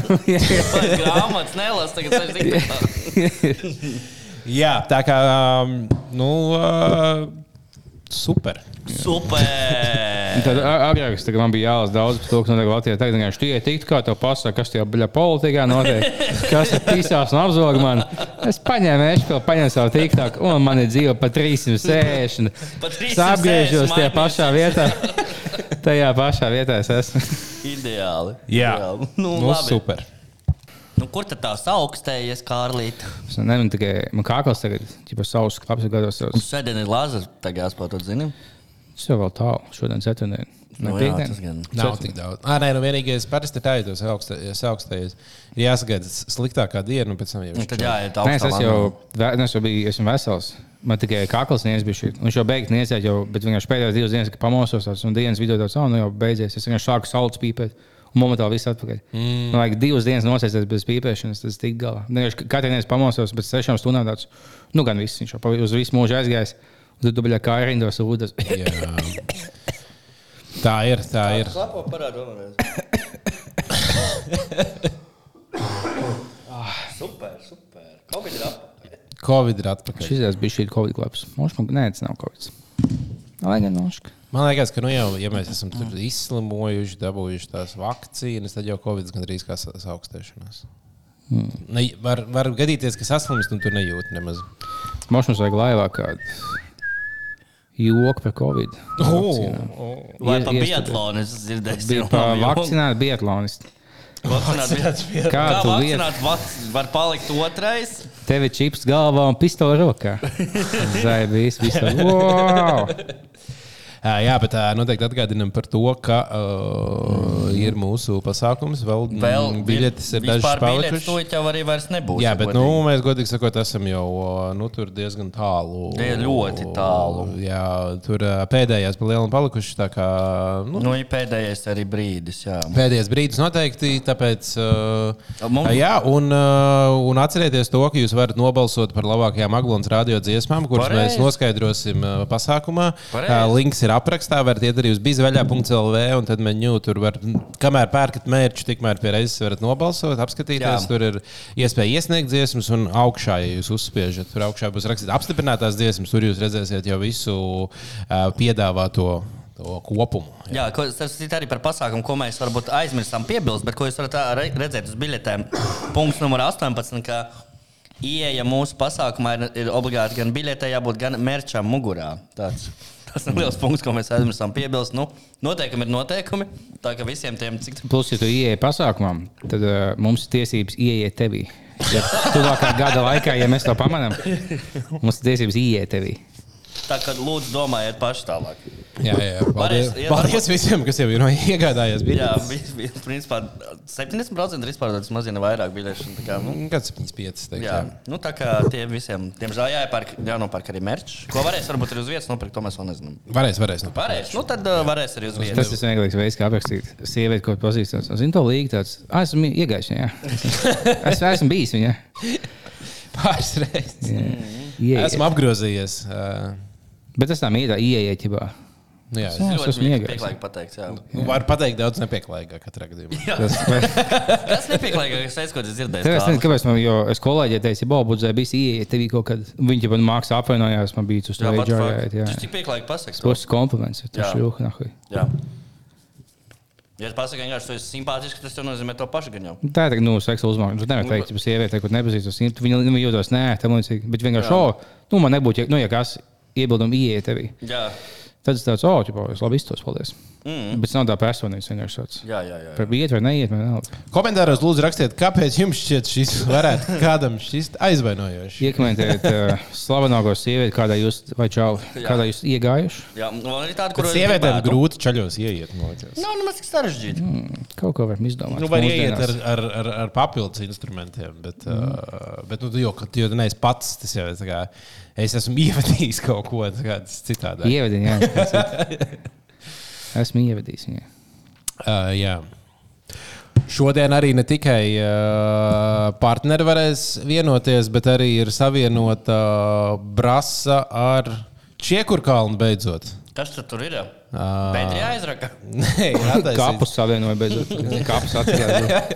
Vai Grāmatas nelas, tagad sēž tikā.
Jā, tā kā, um, nu, uh, super.
Super!
Tad a- agrāk es- tagad man bija jālasa daudz par to, kas notiek Latvijā. Tagad vienkārši tie tiktu, kā tev pasaka, kas tajā bļa politikā notiek, kas ir pīsās un apzog man. Es paņēmu mežpilu, paņēmu savu tiktu, un man ir dzīve pa 360.
Pa 360
Es apgriežos tajā
mainīsies.
pašā vietā. Tajā pašā vietā es esmu.
Ideāli.
Jā,
Ideāli.
nu,
Nu,
nu,
labi.
super.
Nu, kur tad tās augstējies, Kārlīt?
Es nezinu, tikai man kākās tagad, ja savus apgados savus.
Sēdēni ir Lazars, tagad jāspēlē to zini.
Tas jau vēl tālu šodien, ceturtdien. Ne
Nu jā, tas
piekdien.
gan.
Nav tik daudz. Ah, nē, nu vienīgais, parasti tā ir tas augstais. Ir jāsagaida s- sliktākā diena, un pēc tam jau
Nu, Tad jāiet
Nē, es,
augstā
es jau, vē- nu, es jau biju, esmu vesels. Man tikai kakls niedz bija šī. nu, Viņš jau beigts niedzēt, jau, bet vienkārši pēdējās divas dienas, kad pamosos, tās, un dienas video tāds, oh, nu jau beidzies. Es vienkārši sāku saldus pīpēt. Un momentā viss atpakaļ. Mm. Man liekas, divas dienas nosēsties bez pīpēšanas, tas tik galā. Nu, Vienkārši Katru dienu es pamosos, bet sešām stundām tāds, nu gan viss, viņš jau pa- uz visu mūžu aizgājis. Un Tad dubļā kā rindos ūdens.
Jā. Tā ir, tā ir.
Klapo parādu vēlreiz. Super, super. Covid ir apakaļ.
Covid ir atpakaļ.
Šis bija šī Covid klaps. Mums, man, nē, tas nav Covid. Lai gan nošķi.
Man liekas, ka nu jau, ja mēs esam tur izslimojuši, dabūjuši tās vakcīnas, tad jau Covid gandrīz kā sa- saaugstēšanās. Ne, var, var gadīties, ka saslimst, un tur nejūt nemaz.
Mums mums vajag laivā kādu joku par Covid.
Vai oh.
Ies-
pa
ies-
biatlonu es dzirdēju?
Bija pa vakcinētu biatlonistu.
Vakcinēt, kā
Kā tu liec?
vakcinēt, vac- var palikt otrais.
Tev ir čips galvā un pistole rokā. Zai bija viss. Wow!
Ā, Jā, bet ā, noteikti atgādinām par to, ka uh, ir mūsu pasākums. Vēl,
Vēl
mm, biļetes ir dažas
pārspīlētas.
palikušas.
To jau arī vairs nebūs.
Jā,
ja
bet
godīgi.
nu, mēs godīgi sakot, esam jau ā, nu, tur diezgan tālu.
Jā, ļoti tālu.
Jā, tur ā, pēdējās bija liela palikušas. tā kā, Nu,
Nu, ir pēdējais arī brīdis. Jā.
Pēdējais brīdis noteikti, tāpēc. Uh,
Mums-
jā, un, uh, un atcerieties to, ka jūs varat nobalsot par labākajām Aglons radio dziesmām, kuras
Pareizi.
mēs noskaidrosim uh, pasākumā.
Pareizi.
Uh, links ir aprakstā, varat iet arī uz bizveļā.lv un tad menu tur var, kamēr pērkat mērķu, tikmēr pie reizes varat nobalsot, apskatīties.
Jā.
Tur ir iespēja iesniegt dziesmas, un augšā, ja jūs uzspiežat, tur augšā būs rakstīts apstiprinātās dziesmas, tur jūs redzēsiet jau visu uh, piedāvāto to kopumu.
Jā, ko, tas ir arī par pasākumu, ko mēs varbūt aizmirsām piebilst, bet ko jūs varat ā, re- redzēt uz biļetēm. Punkts numur 18. ka Ieja mūsu pasākumā ir, ir obligāti gan biļetē, jābūt gan merčam mugurā. Tāds. Tas ir liels punkts, ko mēs aizmirsām piebilst. Nu, noteikumi ir noteikumi. Tā kā visiem tiem, cik tur
Plus, ja tu ieeji pasākumā, tad uh, mums ir tiesības ieiet tevī. Ja tuvākā gada laikā, ja mēs to pamanām, mums ir tiesības ieiet tevī.
tā kā lūdzu domājiet paši tālāk.
Jā, jā, paldies.
Varēs- jā,
Paldies visiem, kas jau ir no- iegādājies
Jā,
biļetes.
bija, bija, principā 70% ir izpārdotas mazliet vairāk biļešu. tā kā, Nu,
Kāds 75? Teikt,
Jā,
jā.
nu, tā kā tiem visiem, diemžēl, jāiepērk, jānopērk arī merch. Ko varēs varbūt arī uz vietas nopirkt, to mēs vēl nezinām.
Varēs, varēs. Nu.
Varēs, nu tad uh, varēs arī uz
Tas
vietas.
ir vienīgais veids, kā aprakstīt sievieti, ko pazīstams. Zinu, to līgu tāds - esmu iegājis viņā. Es esmu bijis viņā.
Pāris reizes.
Jā. Ieiet.
Esmu apgrozījies. ā,
Bet tas tā mīlā, ieiet jau.
Nu, jā,
Jā.
es-
tas esmu iegājis.
pieklājīgi pateikts. Jā.
nu, var pateikt daudz nepieklājīgāk katrā gadījumā.
Tas,
Tas nepieklājīgākais veids, ko es dzirdēju.
tev, es nezinu,
Kārli.
kāpēc man, jo es kolēģiem teicu, ja Bobudzē bija ieiet, tev bija kaut kad, viņi man mākslā apvainojās, man bija uz
Jā,
to
what the
ieiet.
fuck?
Jā,
Tas tik pieklājīgi pasakts.
tas ir kompliments,
Jā.
tas ir ļoti nahuj.
Jā. Ja es pasaku, vienkārši tu esi simpātisks, tas jau nozīmē to pašu gan jau.
Tā ir tā, nu, seksa uzmanība. Tur nevar teikt, ka sieviete, kur nepazīstas, viņa viņa jūtas, nē, tam līdzīgi. Bet vienkārši, o, nu, man nebūtu, ja, nu, ja kas iebildumi ieiet tevī.
Jā,
Tad es tāds, o, ķipā, es labi iztos, paldies. Mm. Bet tas nav tā personīgs vienkārši tāds.
Jā, jā, jā. jā.
Par iet vai neiet, man nav.
Komentāros lūdzu rakstiet, kāpēc jums šķiet šis varētu kādam šis aizvainojošs.
Iekomentējiet uh, slavenāko sievieti, kādā jūs, vai čau, kādā jūs iegājuši.
jā nu, man ir tāda, kur
Kad sievietēm grūti čaļos ieiet, man liekas.
Nav nemaz Nu, tik sarežģīti. Mm.
Kaut ko varam izdomāt.
Nu, var
mūsdienās.
ieiet ar, ar, ar, ar papildus instrumentiem, bet, mm. uh, bet nu, tu jau tu jau neesi pats. Tas jau ir. tā kā, Es esmu ievadījis kaut ko tā kā, tas citādi.
Ievadīju, jā. tas ir. Esmu ievadījis viņu.
Uh, jā. Šodien arī ne tikai uh, partneri varēs vienoties, bet arī ir savienota uh, brasa ar Čiekurkalnu beidzot.
Kas tad tur ir?
Ā.
Pēdējā aizraka.
Nē, attaisīja-
Kāpus savienoja beidzot. Kāpus atcerējās.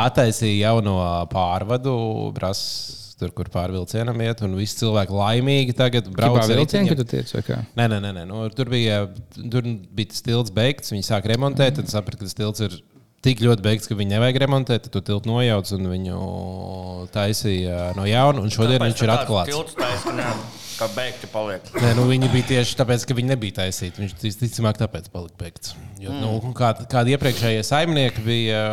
Attaisīja jauno pārvadu, brasa tur, kur pārvilcienam iet, un visi cilvēki laimīgi tagad brauc
Kāpā
ar
vilcienu,
riteņiem.
kad tu tiec vai kā?
Nē, nē, nē, nē. Nu, tur bija tur bija tas tilts beigts. Viņi sāk remontēt, tad saprata, ka tas tilts ir tik ļoti beigts, ka viņi nevajag remontēt. Tad tu tiltu nojauc un viņu taisīja no jauna. Un šodien viņš ir atklāts.
Tilts taisnība, ka beigti paliek.
Nē, nu, viņi bija tieši tāpēc, ka viņi nebija taisīti. Viņš visticamāk tāpēc palika beigts. Jo, nu, kā, kādi iepriekšējie saimnieki bija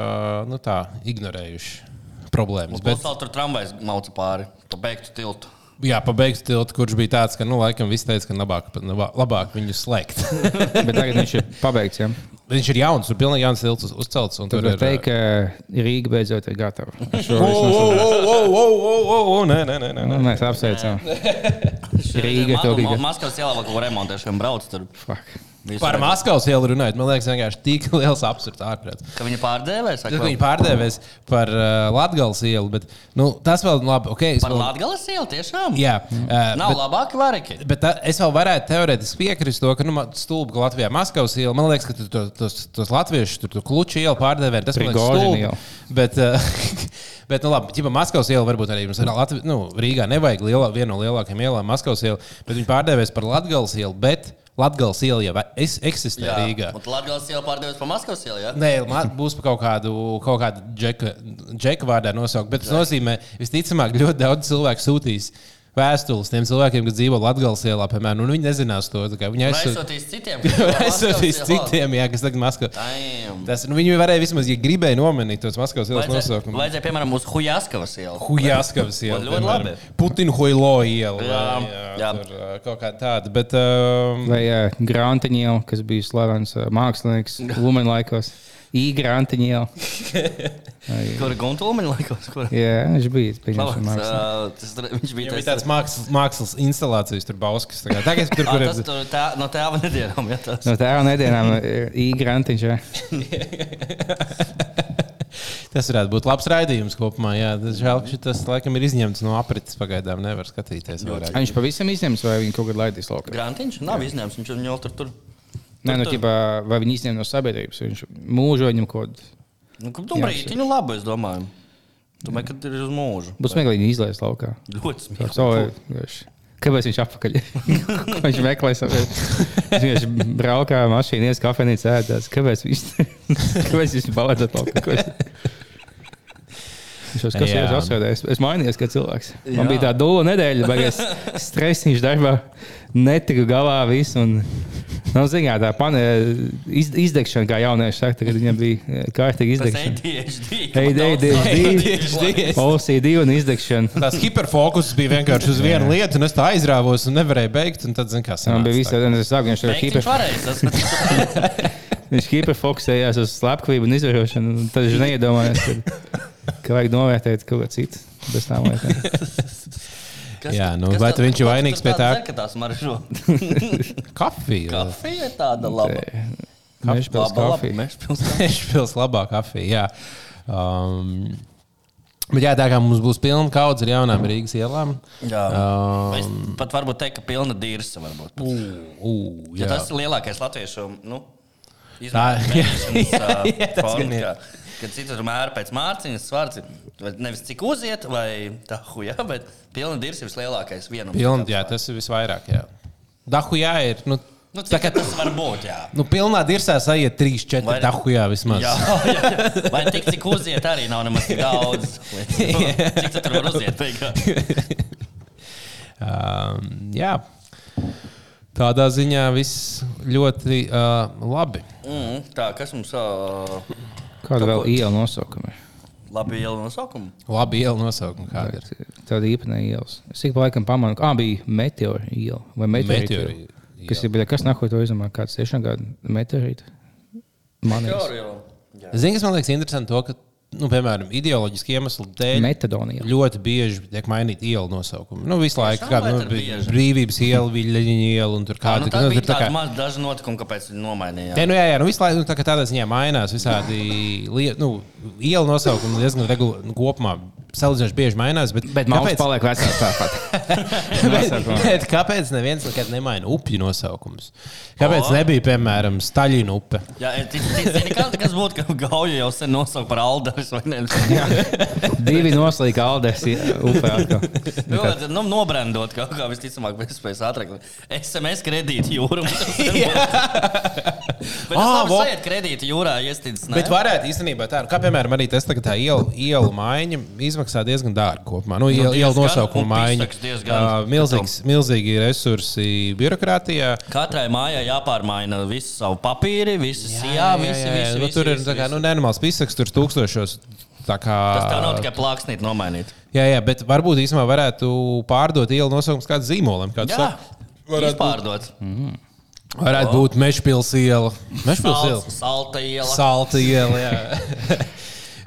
nu, tā, ignorējuši problēmas. Bet,
Būs vēl tur tramvajs mauca pāri, pa beigtu tiltu.
jā, pabeigts tilts, kurš bija tāds, ka nu, laikam viss teica, ka labāk, labāk viņu slēgt.
Bet tagad viņš ir pabeigts. Ja?
Viņš ir jauns, tur pilnīgi jauns tilts uz- uzcelts. un
Tad
tur
var
ir,
teikt, ka Rīga beidzot ir gatava. Ar šo
O,
visu
o, o, o, o, o, o, Nē, nē, nē, nē,
Nu,
nē.
Mēs apsveicam. Rīga tev bija.
Maskavas ielā, ko remontēšana brauc tur.
Fuck.
Visu
Par
laiku.
Maskavas ielu runājot, man liekas, vienkārši tik liels absurds ārprāts.
Ka viņi pārdēvēs?
Tad viņi pārdevēs par uh, Latvijas ielu, bet nu, tas vēl labi. Okay, es
Par
vēl-
Latvijas ielu tiešām?
Jā, uh,
Nav bet... labāki variki.
Bet tā, es vēl varētu teorētiski piekrist to, ka nu, ma- stulbi, ka Latvijā ir Maskavas iela. Man liekas, ka tu, to, tos, tos latviešu tur tu kluču ielu pārdevējiem tas man liekas
Prigožina
stulbi.
iela.
Bet, eh, bet nu, labi, ja Maskavas iela varbūt arī mums ir Latvijā, nu, Rīgā nevajag lielā, vienu no lielākajām ielām, Maskavas ielu, bet viņi pārdevēs par Latvijas ielu. Bet Latvijas iela jau e- es, eksistē jā. Rīgā.
Latvijas iela pārdēvēs par Maskavas ielu, jā?
Nē, ma- būs pa kaut kādu, kaut kādu džeka, džeka vārdā nosaukt. Bet tas nozīmē, visticamāk, ļoti daudz cilvēku sūtīs vēstules tiem cilvēkiem, kas dzīvo Latvijas ielā, piemēram, un viņi nezinās to. tā kā Viņi aizsūtīs
Aizsūtīs citiem.
aizsūtīs citiem, jā, kas tagad Maskavā.
Vajadzēja,
Tas, nu, viņi varēja vismaz, ja gribēja nomenīt tos Maskavas ielas nosaukumus.
vajadzēja, piemēram, uz Hujaskavas ielu.
Hujaskavas iela.
Ļoti
piemēram.
labi.
Putina Hoilo iela.
Jā,
vai,
jā.
Tur, uh, kaut kā tāda. Bet, um,
Vai uh, Grantiņš, kas bija slavens uh, mākslinieks Lumēna laikos, Igrantiņš.
Kur Guntūmiņa laikos? Kur?
Jā, viņš bija pieņemts
Labāks,
mākslinieks.
ā, tas tur- Viņš bija
Viņam bija
tas-
tāds mākslas, mākslas instalācijas, tur Bauskas. tā kā. Tagad tur,
Ā,
kur
tas tur tā, no tēva nedienām. Jā, tas.
No tēva eh, nedēļām Igrantiņš.
Tas varētu būt labs raidījums kopumā. Jā, tas žēl, ka tas laikam ir izņemts no aprites. Pagaidām nevar skatīties vairāk.
Viņš pavisam izņemts vai viņa kaut kad laidīs laukā?
Grantiņš nav izņēmums, viņš jau tur tur.
Nē, nu,
Tur-
ķipā, vai viņi izņem no sabiedrības? Viņš mūžā viņam kaut kādā.
Nu, kur tu brīdi, nu labi, es domāju. Domāju, ka ir uz mūžu.
Būs smieklīgi viņu izlaist laukā.
Ļoti
Tā
smieklīgi.
savu- vienkārši. Kāpēc viņš apakaļ? Ko viņš meklē savu. Viņš vienkārši braukā ar mašīnu, ies kafejnīcā ēdās. Kāpēc viņš kāpēc viņš balēdzot laukā? Ko viņš- Viņš jau skatījās,
Jā.
kas ir asociēts. Es mainījos, kā cilvēks. Man
Jā.
bija tā dūla nedēļa, beigās stresiņš darbā, netiku galā viss. Un... Nav ziņā, tā pane, eh, iz, izdegšana, kā jaunieši saka, kad viņam bija kārtīgi
Tas
izdegšana.
ADHD.
Ei, ei, ei,
ADHD.
OCD un izdegšana.
Tas hiperfokus bija vienkārši uz vienu lietu, un es tā aizrāvos un nevarēju beigt. Un tad, zin, kā,
Man
sanāca
bija
tā.
viss, kas bija
Viņš
jāsaka.
varēja sasprāstīt.
Viņš hiperfokusējās uz slepkavību un izvarošanu. un Tad viņš neiedomājās, ka, ka vajag novērtēt kaut ko citu. Bez tām lietām.
Jā, nu, vai tu viņš ir vainīgs pie tā?
Ka tās maržo.
Kafija.
Kafija tāda laba.
Viņš pēc
Laba, laba.
kafijas.
Mežpils.
Nešpils labā kafija. Jā. Um, bet jā, tā kā mums būs pilna kaudze ar jaunām Rīgas ielām.
Jā.
Um,
Es pat varbūt teikt, ka pilna dīrsa varbūt.
ū, ū,
Ja
jā.
tas ir lielākais latviešu nu,
Tā, jā, jā, tas gan ir.
izmēģinājums. Kad citur mēra pēc mārciņas, svārds ir vai nevis cik uziet, vai tā huja, bet pilna dirs ir vislielākais vienam.
Pilna, jā, tas ir visvairāk. Jā. Dahu jā ir. Nu,
Nu, cik tā, tas var būt, jā.
nu, pilnā dirsā aiziet 3, 4
Vai-
dahu jā vismaz.
Jā, jā, vai tik cik uziet, arī nav nemaz tik daudz. Cik tu tur var uziet? beigās?
Um, jā. Ehm, Tādā ziņā viss ļoti uh, labi.
Mm, tā, kas mums uh,
Kāda vēl iela nosaukuma? ir?
labi iela nosaukuma?
Labi iela nosaukuma kāda ir.
Tāda īpatnē ielas. Es ik pa laikam pamanu, ka ah, bija meteora iela vai meteorīta.
Meteori-
iela. Kas ir bijis? Kas nākotnē to izdomā? Kāds tiešām gada meteorīta? Man ir
Teorija.
Zini, kas man liekas interesanti, to, ka, nu, piemēram, ideoloģiski iemeslu dēļ
metadonija.
ļoti bieži tiek mainīta ielu nosaukuma. Nu, visu laiku,
Tiešām,
kad
vai
nu,
tur
bija
bieži?
brīvības iela, viļņa iela un tur
Tā,
kāda
nu, tā bija
tur tā
tāda
kā-
maz daži notikumi, kāpēc viņi nomainīja.
Te, nu, jā, jā, nu, visu laiku nu, tā kā tādā ziņā mainās. Visādi liet, nu, ielu nosaukumi diezgan regula, nu, kopumā salīdzinoši bieži mainās. Bet,
Bet mums paliek vecāks tāpat.
bet,
nosaukumā?
bet, kāpēc neviens nekad nemaina upju nosaukumus? Kāpēc oh. nebija, piemēram, Staļina upe?
Jā, tas ir kaut kas būtu, ka Gauja jau sen nosauca par Alderis vai ne?
Divi noslīd Aldes i- upē. atkal.
Nu, tad, nu, nobrandot kaut kā visticamāk, pēc iespējas ātrāk. SMS kredīti jūrā. Jā,
Ā, vo-
tā ir kredīti jūrā iestīts.
Bet varētu īstenībā tā, nu, kā piemēram, arī tas tagad tā ielu, ielu maiņa izmaksā diezgan dārgi kopumā. Nu, ielu, ielu
diezgan,
nosaukuma
un
maiņa.
pisaks diezgan.
Ā, Milzīgs, milzīgi resursi birokrātijā.
Katrai mājai jāpārmaina visu savu papīru, visu sijā, visu. visu,
nu,
visu,
tur ir
visu,
tā kā,
visu.
nu, nenormāls pisaks, tur tūkstošos. Tā kā,
Tas tā nav tikai plāksnīt, nomainīt.
jā, jā, bet varbūt īstenībā varētu pārdot ielu nosaukumu kādam zīmolam. Kādu
Jā,
saka.
varētu pārdot.
varētu būt Mešpils iela. Mešpils iela.
Salta iela.
Salta iela. jā.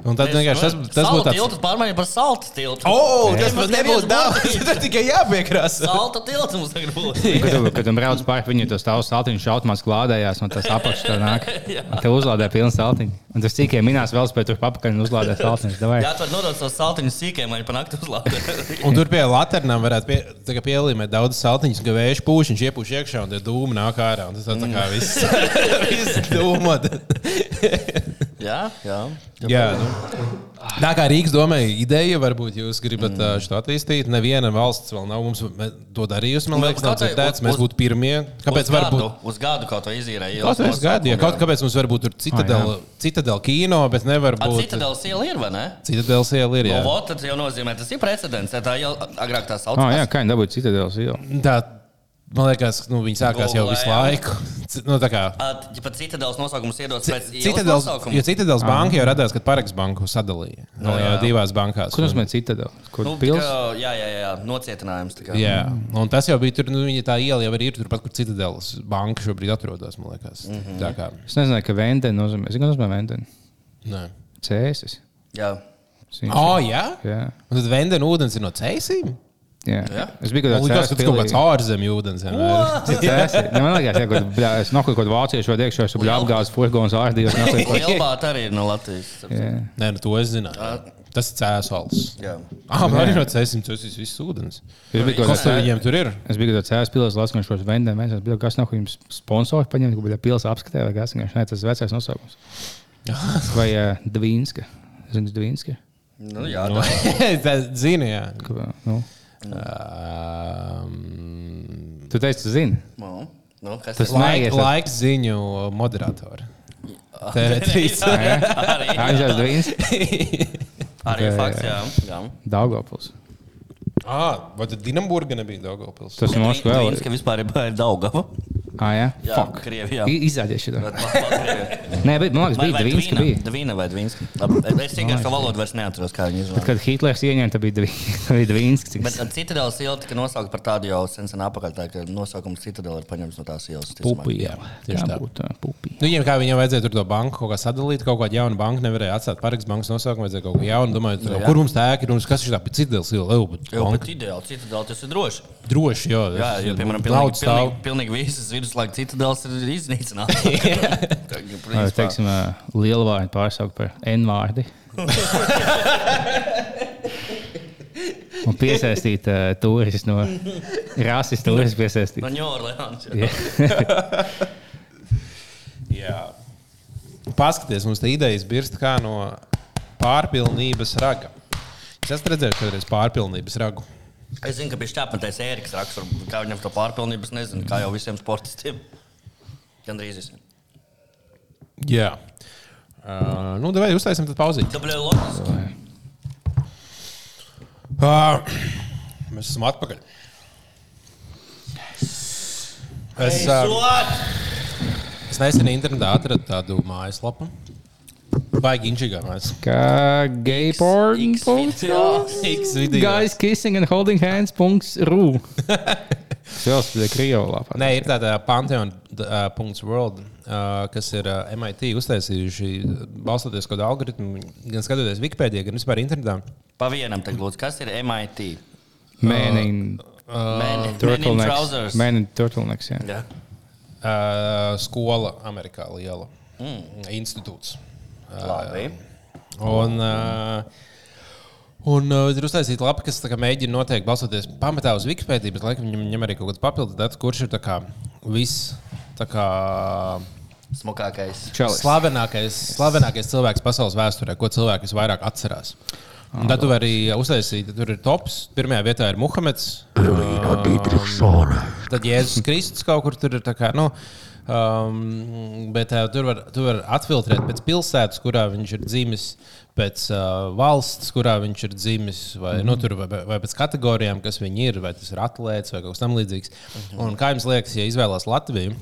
Un tad vienkārši tas, tas būtu tāds.
tāds... tilts, pārmaiņa par salta tiltu.
Oh, tas
Nemaz
pat nebūs
neviens
daudz. Tad tikai jāpiekrās.
Salta tilts mums tagad būs.
Kad tu, kad tu brauc pāri viņu, tas tavs saltiņš automātiski klādējās, un tas apakšā nāk. Un Tev uzlādē pilns saltiņš. Un tas cīkiem minās vēl spēc, tur papakaļ un uzlādē saltiņš. Davai.
Jā, tur nodod savu saltiņu sīkiem, lai pa nakti uzlādētu.
Un tur pie laternām varētu pie, tā kā pielīmēt daudz saltiņus, ka vējš pūš, viņš iepūš iekšā un tie dūmi nāk ārā. Un tas tā, tā kā
Mm.
viss, viss dūmot.
Jā, jā.
Jā, nu. Tā kā Rīgas domāja, ideja varbūt jūs gribat mm. šo attīstīt. Neviena valsts vēl nav mums me- to darījusi. Man
Vēl
liekas, nav
kaut vai
dzirdēts,
uz-
mēs
uz-
būtu pirmie. Kāpēc
uz
varbūt?
Gadu, uz gadu kaut kā izīrēja.
Kaut kāds gads, ja kaut kāpēc mums var būt tur citadela, citadela kino, bet nevar
Ar
būt.
citadelu sielu ir, vai ne?
Citadela iela ir. Jā.
Jā. Tas jau nozīmē, tas ir precedents. Tā jau agrāk tā sauc.
Oh, jā, kā viņi dabūja citadēļas ielu.
Tā, man liekas, nu, viņi sākās jau visu
Golejā.
laiku. C- Nu, tā kā
Ja pat citadēlas nosaukums iedodas pēc
Citadels, jo
nosaukumu.
Citadels banka jau radās, kad Paraks banku sadalīja no, jā, divās bankās.
Ko nozīmē citadēļas? Kur
Mm. Nu, tā
pils?
kā- jā, jā, jā, nocietinājums. tā kā.
Jā, un tas jau bija tur, nu, viņa tā iela jau arī ir turpat, kur Citadels banka šobrīd atrodas, man liekas. Mm -hmm. Tā kā,
Es nezināju, ka vendēna nozīmē. Es nezinu, kas nozīmē
nē.
cēsis.
Jā.
Viņš-
O, jā?
Jā,
Un tad vendena ūdens ir no ceļiem?
jā.
Jā?
Es biju
Man
kaut
liekas, ka tas kaut kāds
kādā
ārzemju ūdens. vienmēr.
cēsis. Ne, Nu, Man liekas, jā, kaut kā es nokļuvu kaut kādā vāciešu vai iekšā, es biju apgāzis furgons ārdījos.
Lielbāta arī ir no Latvijas.
Jā,
Nē, nu to es zināju. Tas ir cēsols.
Jā.
Ah, man arī no ceļiem tas viss ūdens.
es biju kaut
Kas tur
kādā
viņiem tur ir?
Es biju tāds pilsētas, lasu, ka šos vendēm mēs esam, kas nav jums sponsori paņemt, kaut kādā pilsētā apskatē, vai kas nē, tas ir vecais nosaukums. Vai uh, Dvīnska. Zinu, Dvīnska.
Nu, jā,
Nu,
tā
Tas zinu, jā.
Kā, Nu.
Um,
Tu teici, tu zini.
nu, nu, kas
Tas
tas
nav-
Laika
ir.
Neiesat.
laik ziņu moderatori. TV3.
Arī,
Anžēls Dvīnska.
arī
Jā, jā,
fakts, jā. jā.
Daugopuls.
Ah, vai tad Dienamburga nebija Daugavpils?
Tas ir Moskva Nu, vēl.
Dvīnska vispār ir baigi Daugava.
Ah, jā.
Jā,
Fuck.
Krievijā.
I- Izrādies šitā.
Latvijā.
Nē, bet man liekas,
Vai-
bija
vai
Dvīnska.
Dvīna?
Bija.
Dvīna vai Dvīnska? Labi, Es vienkārši to valodu vairs neatceros, kā viņi izvēlējās.
Kad Hitlers ieņēma, tad bija Dvī- bija Dvīnska. cik
Bet
es-
citadelas iela tika nosaukta par tādu jau sen sen apakaļ, tā ka nosaukums citadela ir paņemts no tās ielas. ticamāk.
Jā, tieši tā.
Jābūt,
eh,
ā, Pupi.
Nu, viņiem kā viņiem vajadzēja tur to banku kaut kā sadalīt, kaut kādu jaunu banku nevarēja atstāt. Parīks bankas nosaukumu vajadzēja kaut ko jaunu. Domāju, tur, kur mums tā ēka ir un kas ir tā pēc citdienas iela? Ej, bet
Jā,
banka
bet ideāli citadela tas ir droši.
Droši, jā.
Jā, jo, piemēram, pilnīgi,
daudz stāv.
pilnīgi, pilnīgi visas viduslaiku citadelas ir iznīcinātas.
Vai, Teiksim, ā, lielvārdu pārsaukt par N vārdi. Un piesaistīt uh, turistus no rases, turistus piesaistīt.
No Ņūorleānas.
Jā.
Jā. Paskaties, mums tā ideja birst kā no pārpilnības raga. Es esmu redzējis kādreiz pārpilnības ragu.
Es zinu, ka bija šķēpmetais Ēriks raksts, varbūt kā viņam to pārpilnības nezinu, kā jau visiem sportistiem. Gan drīz visiem.
Jā. Uh, nu, vai uztaisim tad pauzīti.
W. Logiski.
Ā, Mēs esam atpakaļ. Es, uh,
Sot!
es nesen internetā atradu tādu mājaslapu. Baigi inčigā mēs.
Kā gay porn.
X video.
X
Guys kissing and holding hands. Ru. Vēl spēlē Krievlā.
Nē, ir tāda Pantheon.world, kas ir ā, MIT uztaisījuši, balstoties kaut kādu algoritmu, gan skatoties Wikipēdijā, gan vispār internetā.
Pa vienam tagad lūdzu, kas ir MIT?
Mēnīgi.
Man man in
Turtlenecks.
trousers.
Mēnīgi turtlenecks, jā.
Jā.
Ā, Skola Amerikā liela. Institūts.
Labi.
Un, ā, un ā, ir uztaisīta lapa, kas tā kā mēģina noteikt, balstoties pamatā uz Wikipēdiju, bet laikam viņam ņem arī kaut kādu papildu datu, kurš ir tā kā viss. Tā kā
Smukākais.
Čalis.
Slavenākais, slavenākais cilvēks pasaules vēsturē, ko cilvēki visvairāk atcerās. Un tad tu vari arī uztaisīt, tad tur ir tops. Pirmajā vietā ir Muhameds. Tad Jēzus Kristus kaut kur tur ir. tā Kā, nu, um, bet uh, tur var, tu var atfiltrēt pēc pilsētas, kurā viņš ir dzimis, pēc uh, valsts, kurā viņš ir dzimis, vai, nu, tur, vai, vai pēc kategorijām, kas viņi ir, vai tas ir atlētas vai kaut kas tamlīdzīgs. Un Kā jums liekas, ja izvēlās Latviju?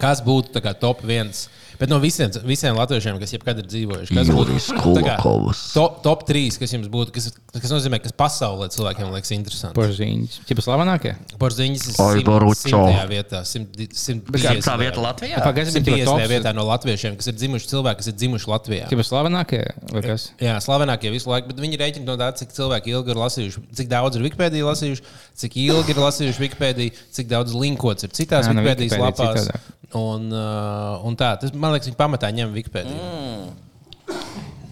Kas būtu tā kā, top viens? Bet no visiem, visiem latviešiem, kas jebkad ir dzīvojuši, kas Nu,
Juris
tā kā
Kulakovs.
top, top 3, kas jums būtu, kas, kas nozīmē, kas pasaulē cilvēkiem liekas interesants.
Porziņš. Čipa slavenākie?
Porziņš ir
Aivaručo.
100. vietā, 100.
Simtā vieta Latvijā?
Pagaidzi, bet čipa
50.
tops.
vietā no latviešiem, kas ir dzimuši cilvēki, kas ir dzimuši Latvijā.
Čipa slavenākie vai kas?
Jā, slavenākie visu laiku, bet viņi rēķina no tā, cik cilvēki ilgi ir lasījuši, cik daudz ir Wikipēdija lasījuši, cik ilgi ir lasījuši Wikipēdiju, cik daudz linkots ir citās
Jā, nu,
Wikipēdijas
Wikipēdija
lapās.
citādāk.
Un, uh, un tā, tas, man liekas, viņi pamatā ņem Wikipēdiju. Mm.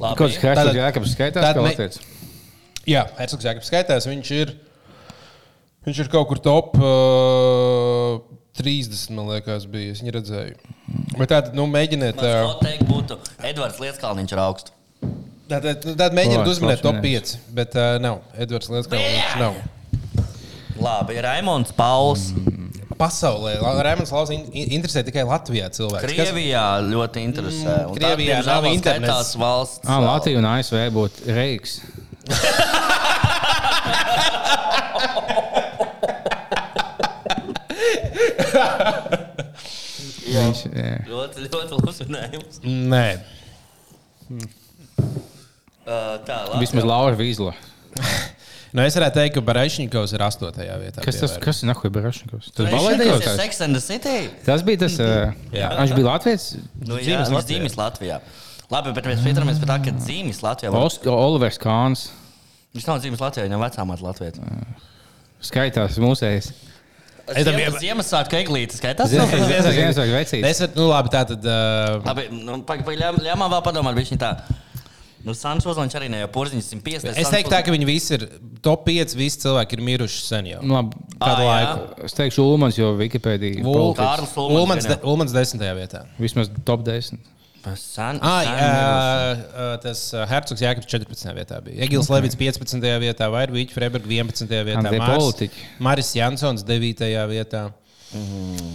Labi.
Kāds Hercogs
Tātad-
Jēkabs skaitās,
tātad
kā
me-
latviec?
Jā, Hercogs Jānis skaitās, viņš ir, viņš ir kaut kur top uh, 30, man liekas, bija. Es viņu redzēju. Bet tā tad, nu, mēģiniet,
Mans
uh,
hot take būtu Edvards Lieskalniņš ar augstu.
tā tad, nu, tad mēģiniet
Labs,
uzminēt
labs
top
minējums.
5, bet uh, nav. Edvards Lieskalns nav.
Labi, Raimons Pauls.
Pasaulē La- Raimons Lauss in- in- interesē tikai Latvijā cilvēks.
Krievijā ļoti interesē.
Mm,
Un
Krievijā
tā, diemžēl,
nav
vēl
internets.
skaitās valsts.
Ah, Latvija un ASV būtu reiks. Viņš, jā.
Ļoti, ļoti labs minējums.
Kas? Nē.
Uh, tā, labi.
Vismaz Laura Vīsla.
Nu, es varētu teikt, ka Baraišņikovs ir 8. vietā.
Kas tas
piemēram.
kas ir? Nahuj, Barašņikovs. Tas
Viņš ir
balēdējotājs.
Sex and the City.
Tas bija tas, ā,
Jā.
viņš bija Latvijas.
Nu, jā,
Dzīves
viņš
Latvijā.
dzīvis Latvijā. Labi, bet mēs pieturamies pie tā, ka dzīvis Latvijā. var-
Ost- Olivers Kāns
Viņš nav dzīvis Latvijā, viņam vecā māte Latvijā.
skaitās mūsējais.
Es tam
Ziemas-
ie-
Ziemassvētku eglītes, kā tas
Ziem-
ir?
Ziemassvētku-
Ziemassvētku vecītis.
Es varu, nu, labi, tā tad. Uh,
Labi, nu, ļāmā vēl padomāt, viņš tā. Nu, Sants Uzlaņš arī ne jau porziņš 150.
es teiktu, tā, ka viņi visi ir top 5, visi cilvēki ir miruši sen jau.
Nu, Labi,
Ah,
Kādu
jā.
laiku?
es teikšu Ulmans, jo Wikipēdija ir
Vul-
politics.
Kārlis Ulmans
Ulmans,
gan
de, Ulmans desmitajā vietā.
vismaz top 10.
San,
Ah, jā,
San Mirus.
ā, tas ā, Hercogs Jānis 14. vietā bija. Egils okay. Levits 15. vietā, Vairvīķis Freiburg 11. vietā,
Andrei
Mārs-
Politiķi.
Maris Jansons 9. vietā.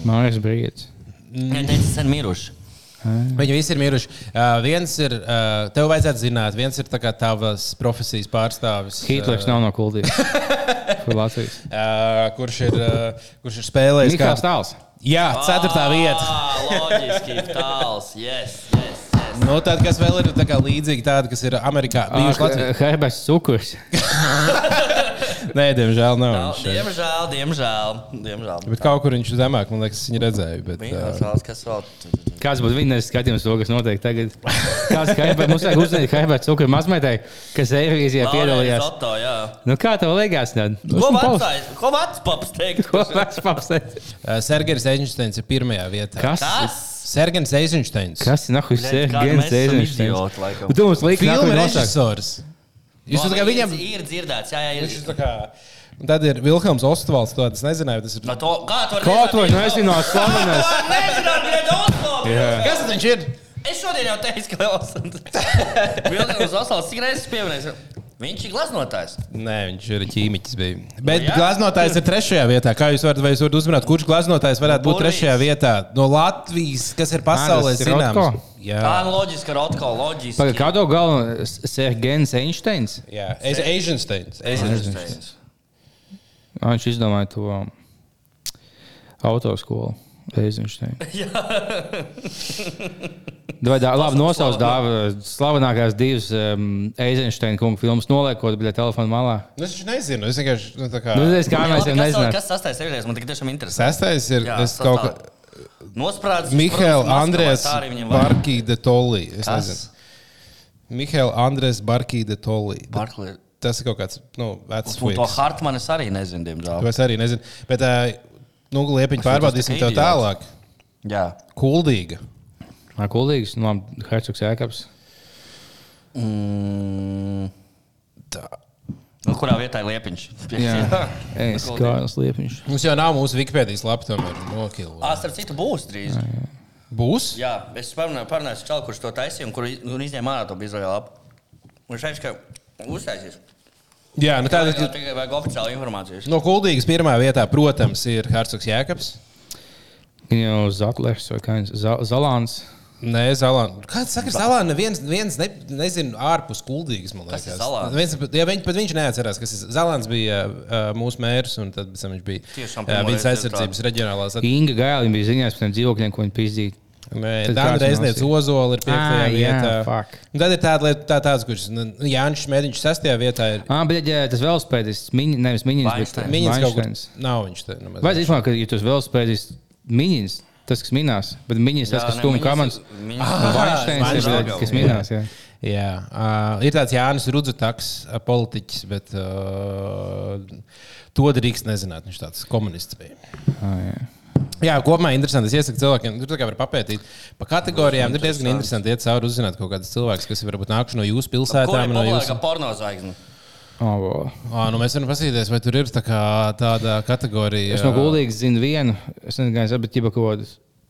Māris Brīdis.
Viņa teica, sen miruši.
Viņi visi ir miruši. Uh, viens ir, uh, tev vajadzētu zināt, viens ir tā kā tavas profesijas pārstāvis.
Hitlers nav no kultūras. Kur Latvijas?
Uh, kurš ir, uh, kurš ir spēlējis?
Mikls Tāls.
Jā, 4. vieta.
Ah, Loģiski, tāls. Yes, yes, yes.
Nu, tad, kas vēl ir tā kā līdzīga tāda, kas ir Amerikā?
Ah,
Bijuši Latvijā?
Herberts Cukurs.
Nē, diemžēl nav.
Nav,
viņš šeit.
Nu, Diemžēl, diemžēl. diemžēl.
Bet kaut kur viņš ir zemāk, man liekas, viņi redzēja. Bet,
Viņa
uh,
zāles, kas vēl.
Kāds būtu viņa skatījums, to, kas notiek tagad? Kāds Herberts, mums vajag uzzināt Herberts Cukurs mazmeitai, kas Eirovīzijā
Laurijas
piedalījās.
Otto, jā.
Nu, kā tev liekas? tad?
Ko
Uzmanīgi paus-
vecais? Ko vecs paps teikt?
Ko vecais paps teica?
Eh, Sergejs Eisensteins ir pirmajā vietā.
Kas?
Kas?
Sergejs Eisensteins.
Kas ir nahuj
Bļaļ, kādi
Sergens
mēs esam
Eizensteins?
idioti, laikam.
Tu mums liekas,
Filmu
nahuj nosāk.
režisors. Jūs tā kā viņam.
ir dzirdēts, jā, jā,
Viņš ir
ir.
tā kā. Un tad ir Vilkams Ostvalds. To es nezināju. Tas ir.
No to, kā tu vari
Kā
nezināt,
to
viņš
nezināt, slavenais?
Kā tu nezināt, Bļaļ, Otto?
Kas tad viņš ir?
Es šodien jau teicu, ka Osakts ir Osakts. Cik reizes pieminēs? Viņš ir glaznotājs.
Nē, viņš ir ķīmiķis. Bija. Bet
Oh, jā?
glaznotājs ir trešajā vietā. Kā jūs varat, vai jūs varat uzzināt, kurš glaznotājs varētu būt
Burvīgs.
trešajā vietā? No Latvijas, kas ir pasaulē
Andris
zināms.
Sirotko?
Jā,
Tā ir loģiska, rotko, loģiska.
Pagaid, Kādu galvu Sergens Eizensteins?
jā. Es Eisensteins. Eisensteins.
Einsteins.
Viņš izdomāja to autoskolu. Vai tā, labi, nosauc dāvana. Slavenākās divas um, Eizensteina kunga filmas noliekot, bet telefonu malā.
Nu, Es viņš nezinu, es vienkārši. Nu, tā kā...
Nu, es kā mēs jau nezinām.
Kas sastais sevies? Man tik tiešām interesē.
Sestais ir
Jā,
jā, es kaut kā.
Nosprādz.
Mihails Andrēs
Var...
Barkīde Tolī. Es
Kas?
nezinu. Mihails Andrēs Barkīde Tolī.
Barklī.
Tas ir kaut kāds, nu, vecs
Un to
fuiks.
Hartmanis arī nezinu, diemžēl.
To es arī nezinu. Bet, ā, nu, liepiņ,
jūtos
pārbaudīsim
tā kā
tev tālāk.
Jā.
Kuldīga.
Nā, Kuldīgs, no nu, Hercogs Jēkabs.
Mm.
Tā.
Nu, kurā vietā ir liepiņš?
Jā, es
Kuldīgs.
Kārlis Liepiņš.
Mums jau nav mūsu Wikipēdijas lapa, tomēr nokļuva.
Ah, starp citu, būs drīz.
Būs?
Jā, es parunāju, parunāju ar čalu, kurš to taisīja un kur iz- un izņēma ārā to bizoju lapu. Viņš teica, ka uztaisīs.
Jā, nu
Tā ir
tāda.
tikai vajag oficiāla informācija.
Nu,
No Kuldīgas pirmā vietā, protams, ir Hercogs Jēkabs.
Viņa jau Zatlers vai kā viņš Za- Zalāns.
Nē, Zalāna. Kāds saka, Zalāna? Viens, viens ne, nezinu, ārpus Kuldīgas, man
Kas
liekas.
ir Zalāns?
Viens, pat- jā, viņš pat viņš neatcerās, kas ir Zalāns bija uh, mūsu mērs, un tad pēc tam viņš bija ā,
Tiešām pirmo
vidas
reizi ir
aizsardzības reģionālās. at-
Inga Gāliņa bija ziņās par tiem dzīvokļiem, ko viņa pizdīja.
Nē,
Tad
Dāna
kāds
Reiznieks
nosīja?
Ozola ir piektajā
Ā, jā,
vietā.
fuck.
Un tad ir tāda lieta, tā, tāds, kurš nu, Jānis Šmētiņš sestajā vietā ir.
Ah, bet jā, tas vēl spēļas, nevis miņas, bet
Vainsteins.
Viņas kaut kur
Vainsteins.
nav viņš te. Nu,
Ah, Vai zināmāk, ka ja tas vēl spēļas miņas, tas, kas minās, bet miņas, tas,
Jā,
kas
ne,
skumj
viņas-
kameras.
viņas-
Vainsteins ir,
Vainsteins.
bļaļ, kas minās, jā.
Jā, uh, ir tāds Jānis Rudzutaks, ā, politiķis, bet uh, to drīkst nezināt. Viņš tāds komunists bija.
Ah, jā.
Jā, kopumā interesanti. Es iesaku cilvēkiem, tur tā kā var papētīt pa kategorijām. Tur diezgan interesanti iet cauri, uzzināt kaut kādas cilvēkus, kas ir varbūt nākuši no jūsu
Kur ir
pilsētām. No
populārākā
jūsu...
porno zvaigzne?
Ah, vau.
Ā, nu mēs varam paskatīties, vai tur ir tā kā, tāda kategorija.
Es no Gulīgas zinu vienu, es nezinu, kāda ir bijusi kaut kāda.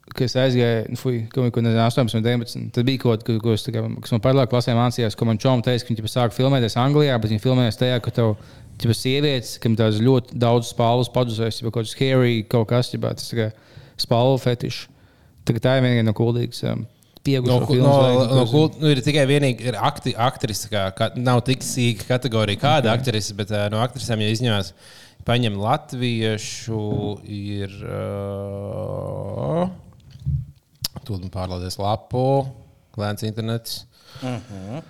Kad es aizgāju, nu, fuj, kaut ko nezinu, 18, 19. Tad bija kaut kas, ko es tā kā- kas man paralēli klasē mācījās, ko man čom teica, ka viņi ķipa, sāk filmēties Anglijā, bet viņi filmējās tajā, ka tev ir sievietes, kam tās ļoti daudz spālus paduzēs, jau kaut kas scary, kaut kas tāds - spālu fetišs. Tā, kā tā ir vienīgā no Gulīgas. Um,
No,
Pieguvušo
ku-
filmu
no,
zvaigznes,
no,
ko
kult- nu, ir tikai vienīgi ir akti, aktrise, kā, kā, nav tik sīga kategorija, kāda okay. aktrise, bet ā, no aktrisēm, ja izņemās, paņem latviešu, ir. Uh, Tur man pārlādēs lapu, lēns internets. Uh -huh.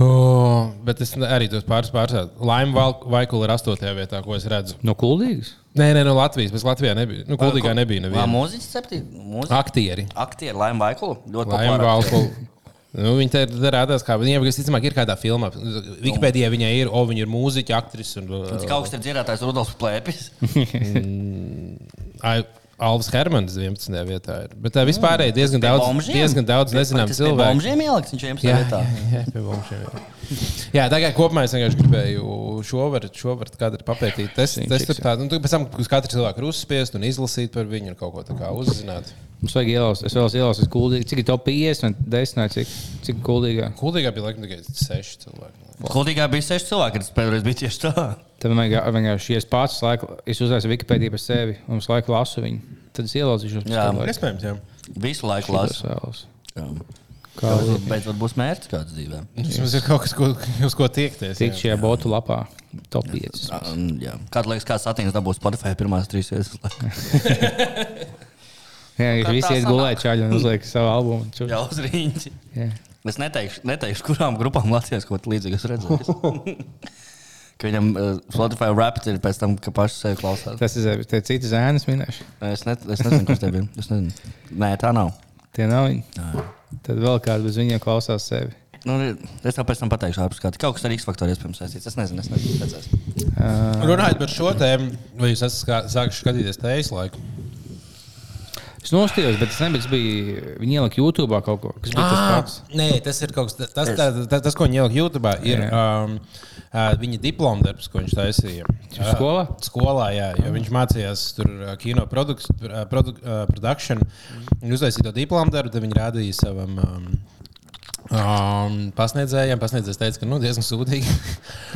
oh, bet es ne- arī tos pāris pārstāvu. Laima Valk- Vaikula ir astotajā vietā, ko es redzu.
No Gulīgas.
Nē, nē, no Latvijas, bet Latvijā nebija. Nu, Kultīgā nebija
Vā,
neviena.
mūziķis septiņi.
Aktieri.
Aktieri, Laima Vaikula. Ļoti
Ah. Laima
populāra aktieri.
Valkula. Nu, viņa te ir rādās, kā viņa visticamāk ir kādā filmā. Wikipēdijā viņai ir, o, viņa ir mūziķa, aktrise un uh,
Cik augsts ir dzirdētājs Rudolf Plēpis?
Ai- Alvis Hermans 11. vietā. Ir. Bet tā vispār ir diezgan daudz,
Mm. Bomžiem?
diezgan daudz
Vai
nezinām
tas pie
cilvēku.
Bomžiem ieliks viņš 11.
Jā,
vietā.
jā, jā, pie bomžiem, jā. jā, tā kā kopumā es vienkārši gribēju šo varu, šo varu kādu papētīt. Tas, tas tur tāds, nu, tu pēc tam uz katru cilvēku ir uzspiest un izlasīt par viņu un kaut ko tādu uzzināt.
Mums vajag ielaust, es vēlos ielaust, Gulīgas. Cik ir top 50, 10, cik, cik Gulīgā?
Kultīgā bija laikam tikai seši cilvēki.
Kultīgā bija seši cilvēki, kas pēdējais bija tieši tā.
Tad man vienkār- vienkārši, ja es pats laiku, es uzreiz Wikipēdiju par sevi un uz laiku lasu viņu, tad es ielauzīšu
Jā.
Iespējams, jā.
Visu laiku lasu.
Lasu.
Kā beidzot būs mērķis kāds dzīvē?
Nu, Mums ir kaut kas, ko, uz ko tiekties.
Tik
jā.
šajā botu lapā, top 5.
Um, jā. Kādu liekas, kāds satīns dabūs Spotify pirmās trīs vietas?
Jā, viņš
kā
visi
tā
iet
sanāk.
gulēt čāļi un uzliek savu albumu. ču.
Jā, uz rīņķi.
Jā.
Es neteikšu, neteikšu kurām grupām Latvijas kaut ko līdzīgu es redzēju. Ka viņam uh, Spotify raps ir pēc tam, ka pašu sevi klausās.
Tas ir tie citi zēnas minēšu.
Es, ne, es nezinu, kas te bija. Es nezinu. Nē, tā nav.
Tie nav viņi. Tad vēl kāds bez viņiem klausās sevi.
Nu, es tev pēc tam pateikšu, ārpus kāda. Kaut kas ar X faktoru iespējams saistīts. Es nezinu, es nezinu. Redzēs.
Runājot par šo tēmu, vai jūs esat skā- sākuši skatīties teijas laiku?
Es nostījos, bet tas nebija, tas bija, viņi ielika YouTube kaut ko, kas bija tas
Ah!
pats.
Ah, nē, tas ir kaut kas tāds, tas, tā- tā- tas, ko viņi ielika YouTube. Ir um, ā, viņa diploma darbs, ko viņš taisīja. Uh, Ā,
skolā?
Skolā, jā, jo viņš mācījās tur ā, kino uh, produkciju. Viņš uztaisīja to diplomu darbu, tad viņi rādīja savam. Um, Um, pasniedzējiem pasniedzējs teica, ka nu, diezgan sūdīgi.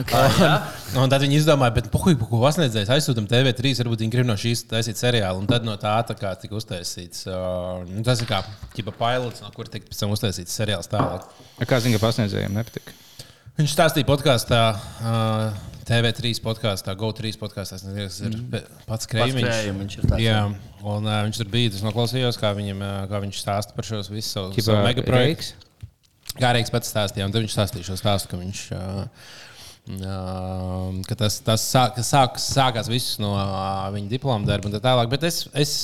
Okay, un, un tad viņi izdomāja, bet puhuj, puhuj, ko pasniedzējs aizsūtām TV3, varbūt viņi grib no šīs taisīt seriālu. Un tad no tā tā kā tika uztaisīts. Uh, nu, tas ir kā ķipa pilots, no kur tika pēc tam uztaisīts seriāls tālāk.
Kā zina, ka pasniedzējiem nepatika.
Viņš stāstīja podkāstā, uh, TV3 podkāstā, GO3 podkāstā. Es nezinu, kas ir pe- pats
Krējumi,
Kreivs.
Mm. viņš ir tāds,
Jā, un uh, viņš tur bija. Es noklausījos, kā, viņam, uh, kā viņš stāsta par šos visus savus
Ķipā,
savu megaprojektus.
Reiks?
Kā Reiks pats stāstīja, un tad viņš stāstīja šo stāstu, ka viņš. Uh, Uh, ka tas tas sāk, sāk, sākās viss no uh, viņa diploma darba, un tā tālāk. Bet es, es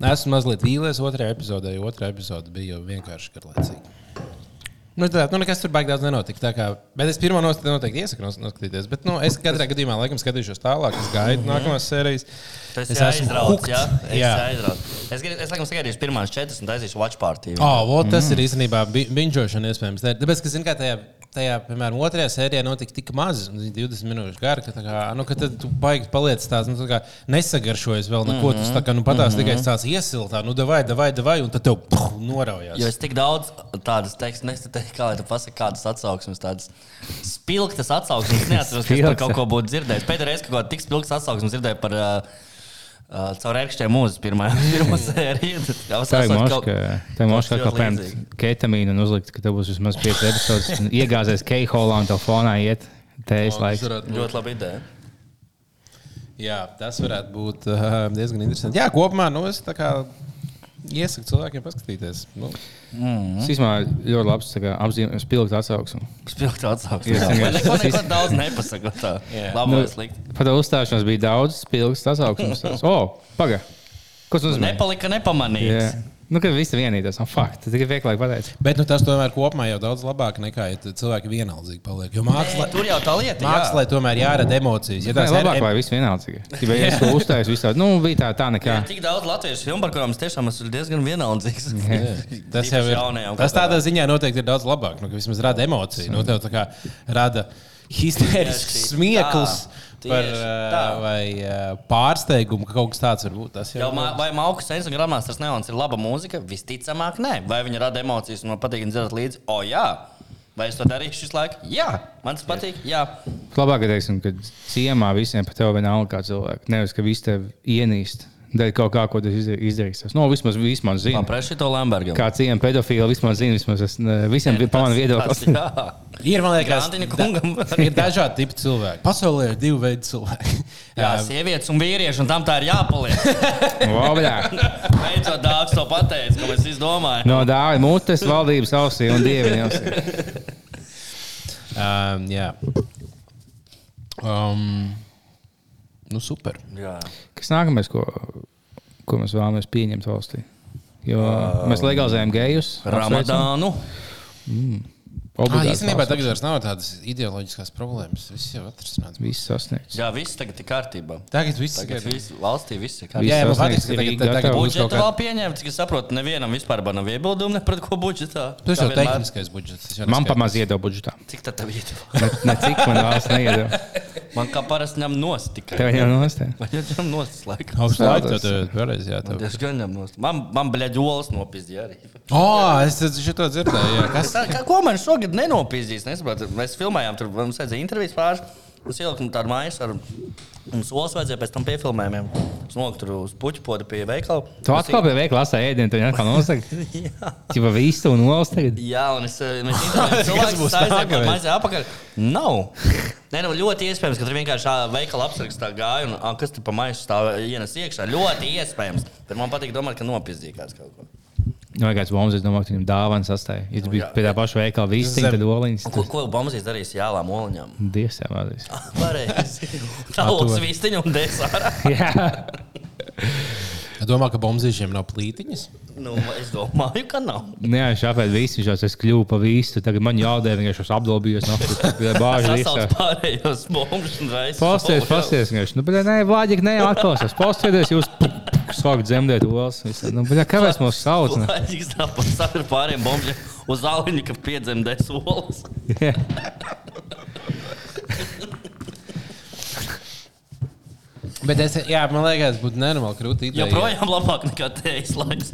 esmu mazliet vīlies otrajā epizodē, jo otrā epizode bija jau vienkārši garlaicīga. Nu, tā, nu, nekas tur baigi daudz nenotika. tā Kā, bet es pirmo noteikti, noteikti iesaku nos- noskatīties. Bet, nu, es katrā gadījumā, laikam, skatīšos tālāk. Es gaidu nākamās sērijas.
Tas
Es
ir
esmu hooked.
aizrauts. Jā, es
Jā.
aizrauts. Es, gribu- es laikam sagaidīšu pirmās četras un taisīšu watch party.
Oh, vot, tas mm. ir īstenībā binžošana iespējams. Tā ir- Tāpēc, ka, zin, kā tajā, tajā, piemēram, otrajā sērijā notika tik maz, un 20 minūšu gara, ka, tā kā, nu, ka tad tu baigi paliec tāds, nu, tā kā nesagaršojies vēl neko. Mm -hmm.
Mhm.
Tu tā kā, nu, patās mm -hmm. tikai tāds iesiltā, nu, davai, davai, davai, un tad tev puh, noraujās.
Jo es tik daudz tādas teiktu, nesaprotu, kā lai tu pasaki, kādas atsauksmes, tādas spilgtas atsauksmes. Es neatceros, ka es par kaut ko būtu dzirdējis. Pēdējā reize, kad kaut kāda tik spilgta atsauksmes dzirdēju par uh, uh, caur ērkšķiem mūziku pirmā pirmā sērija. tad jau
Tā ir
sākot
monēta,
kaut-
ka
kaut kas
monēta kā
ļoti līdzīgs.
pēkšņi ketamīnu un uzlikt, ka tev būs vismaz 5 epizodes. un Iegāzēs keiholā un tā fonā iet tējas laiks.
Ļoti labi ideja.
Jā, tas varētu būt uh, diezgan interesanti. Jā, kopumā nu, es tā kā iesaku cilvēkiem paskatīties. Nu,
Tas īstenībā ļoti labs tā kā apzīmējums, spilgts atsauksme.
Spilgta atsauksme.
Jā. Nu,
Jā, man neko, neko daudz nepasaka. Tā labi, vai slikti.
Pat tā uzstāšanās bija daudz spilgts atsauksmes. Tāds, O, paga! Kas tas nozīmē?
Nepalika nepamanīts.
Jā. Nu, ka visi vienīgās. Oh, fuck, tas tikai vieglāk pateikt.
bet nu, tas tomēr kopumā jau daudz labāk nekā, ja cilvēki vienaldzīgi paliek. Jo mākslā,
Nē, Tur jau tā lieta. jā.
mākslā tomēr jārada emocijas. Ja
Tā
tās er-
ir labāk,
em-
lai viss vienaldzīgi. Tikai es to uzstāju, visādi. Nu, bija tā, tā nekā.
Jā. Tik daudz latviešu filmu, par kurām es tiešām esmu diezgan vienaldzīgs.
Tas jau ir. Tas tādā ziņā noteikti ir daudz labāk. Nu, ka vismaz rada emociju. Nu, tev tā kā rada histērisks
Tieši
smieklis
tā,
par,
tieši
ā,
tā.
vai ā, pārsteigumu, ka kaut kas tāds var būt. Tas jau
Jau, mā- vai Mauka Sēnes un Rāmāns tas neons ir laba mūzika? Visticamāk, nē. Vai viņa rada emocijas un man patīk dzirdēt līdzi? O, jā. Vai es to darīšu šis laiks? Jā. Man tas patīk. Jā.
Labāk, ka teiksim, ka ciemā visiem par tevi vienalga kā cilvēku. Nevis, ka visi tevi ienīst. Dēļ kaut kā, ko tu izda- izdarīsi. Tas, Nu, vismaz, vismaz zini.
Papraši to Lambergu.
Kā ciemā pedofila, vismaz zini, vismaz es, ne, visiem
nu,
bija pamana viedoklis.
Jā.
ir. Man liekas,
Grandiņa kungam.
da- ir dažādi tipi cilvēki. Pasaulē ir divi veidi cilvēki.
Jā, sievietes un vīrieši, un tam tā ir jāpaliek.
Vobļā.
Beidzot, dārgs to pateicis, ko mēs izdomājam.
No dāļa mutes, valdības ausī un dieviņa ausī.
um, jā. Um, nu, super.
Jā.
Kas nākamais, ko, ko mēs vēlamies pieņemt valstī? Jo mēs legalizējam gejus.
Nu,
Ramadānu.
Ah,
Obligāti
īstenībā
valsts.
tagad vairs nav tādas ideoloģiskas problēmas. Viss jau atrasts.
Viss sasniegts.
Jā, viss tagad ir kārtībā.
Tagad viss ir
Tagad
kārtībā.
viss valstī viss ir kārtībā.
Jā, jā, man patīk,
sasniegts,
ka tagad,
Rīga
tagad, tagad
gatava.
būs kaut
Budžetu
kāda.
vēl pieņemts, cik es saprotu, nevienam vispār nav iebildumu ne pret ko budžetā.
Tas
Kā
jau ir
vienmēr.
tehniskais budžets. tas jau
Man
neskaitās.
pamaz iedod budžetā.
Cik tā tev iet?
Ne, ne cik man valsts neiedod.
Man kā parasti ņem nost tikai.
Tev jau nostē.
Man jau ņem nost laikam.
Augstu
Stādos.
laiku tad eh, vēlreiz jāatzīst.
Es gan ņem nost. Man, man bļaģi olas nopizdīja arī.
O, es šo dzirdēju. Jā. Kas?
Tā, kā, ko man šogad nenopizdīs? Nesaprotu. Mēs filmējām, tur mums vajadzēja intervijas pāris. Uz ieliku tādu mājas ar mums olas vajadzēja pēc tam piefilmējumiem. Es nokļuvu tur uz puķu podu pie veikala.
Tu atkal pie veikla lasā ēdienu, tad atkal nosaka. Tipa visu un olas tagad.
Jā, un es eh,
Kas
domāju,
būs
ka
nākamais?
tas ir apakaļ. Nav. Nē, nu, ļoti iespējams, ka tur vienkārši tā veikala aprakstā gāja un "Ā, kas tur pa maisu stāv ienes iekšā. Ļoti iespējams. Tad man patīk domāt, ka nopizdīgās kaut ko.
Nu, vai kāds bombs, es domāju, ka viņam dāvana sastāja. Viņš bija
jā.
pie tā paša veikala visu,
Zem.
tad oliņas.
Un Ko, ko Bombazīs darīs jālā moliņam?
Dievs, jā, vārdīs.
Pareizi. Tā lūdzu vistiņu un desāra.
Jā.
Es domāju, ka bombzīšiem nav plītiņas.
Nu, es domāju, ka nav.
Nē, Nu, viņš apēd visu, viņš jau es kļuvu pa visu. Tagad man jādēļ, viņš jau apdobījos. Nē, bāži
Sasauc
visā.
pārējos bombas un raisa.
Pasties, pasties, viņš. Nu, bet nē, Vladimir, nē, atklāsies. Pasties, jūs sākat dzemdēt olas. visā. Nu, bet kāpēc mums sauc? ne?
Laidzīgs tāpat sāk ar pāriem bombžiem uz zāliņu, ka piedzemdēs olas.
Jā.
Bet es, jā, man liekas, būtu nenormāli krūti.
Joprojām labāk nekā tējas laiks.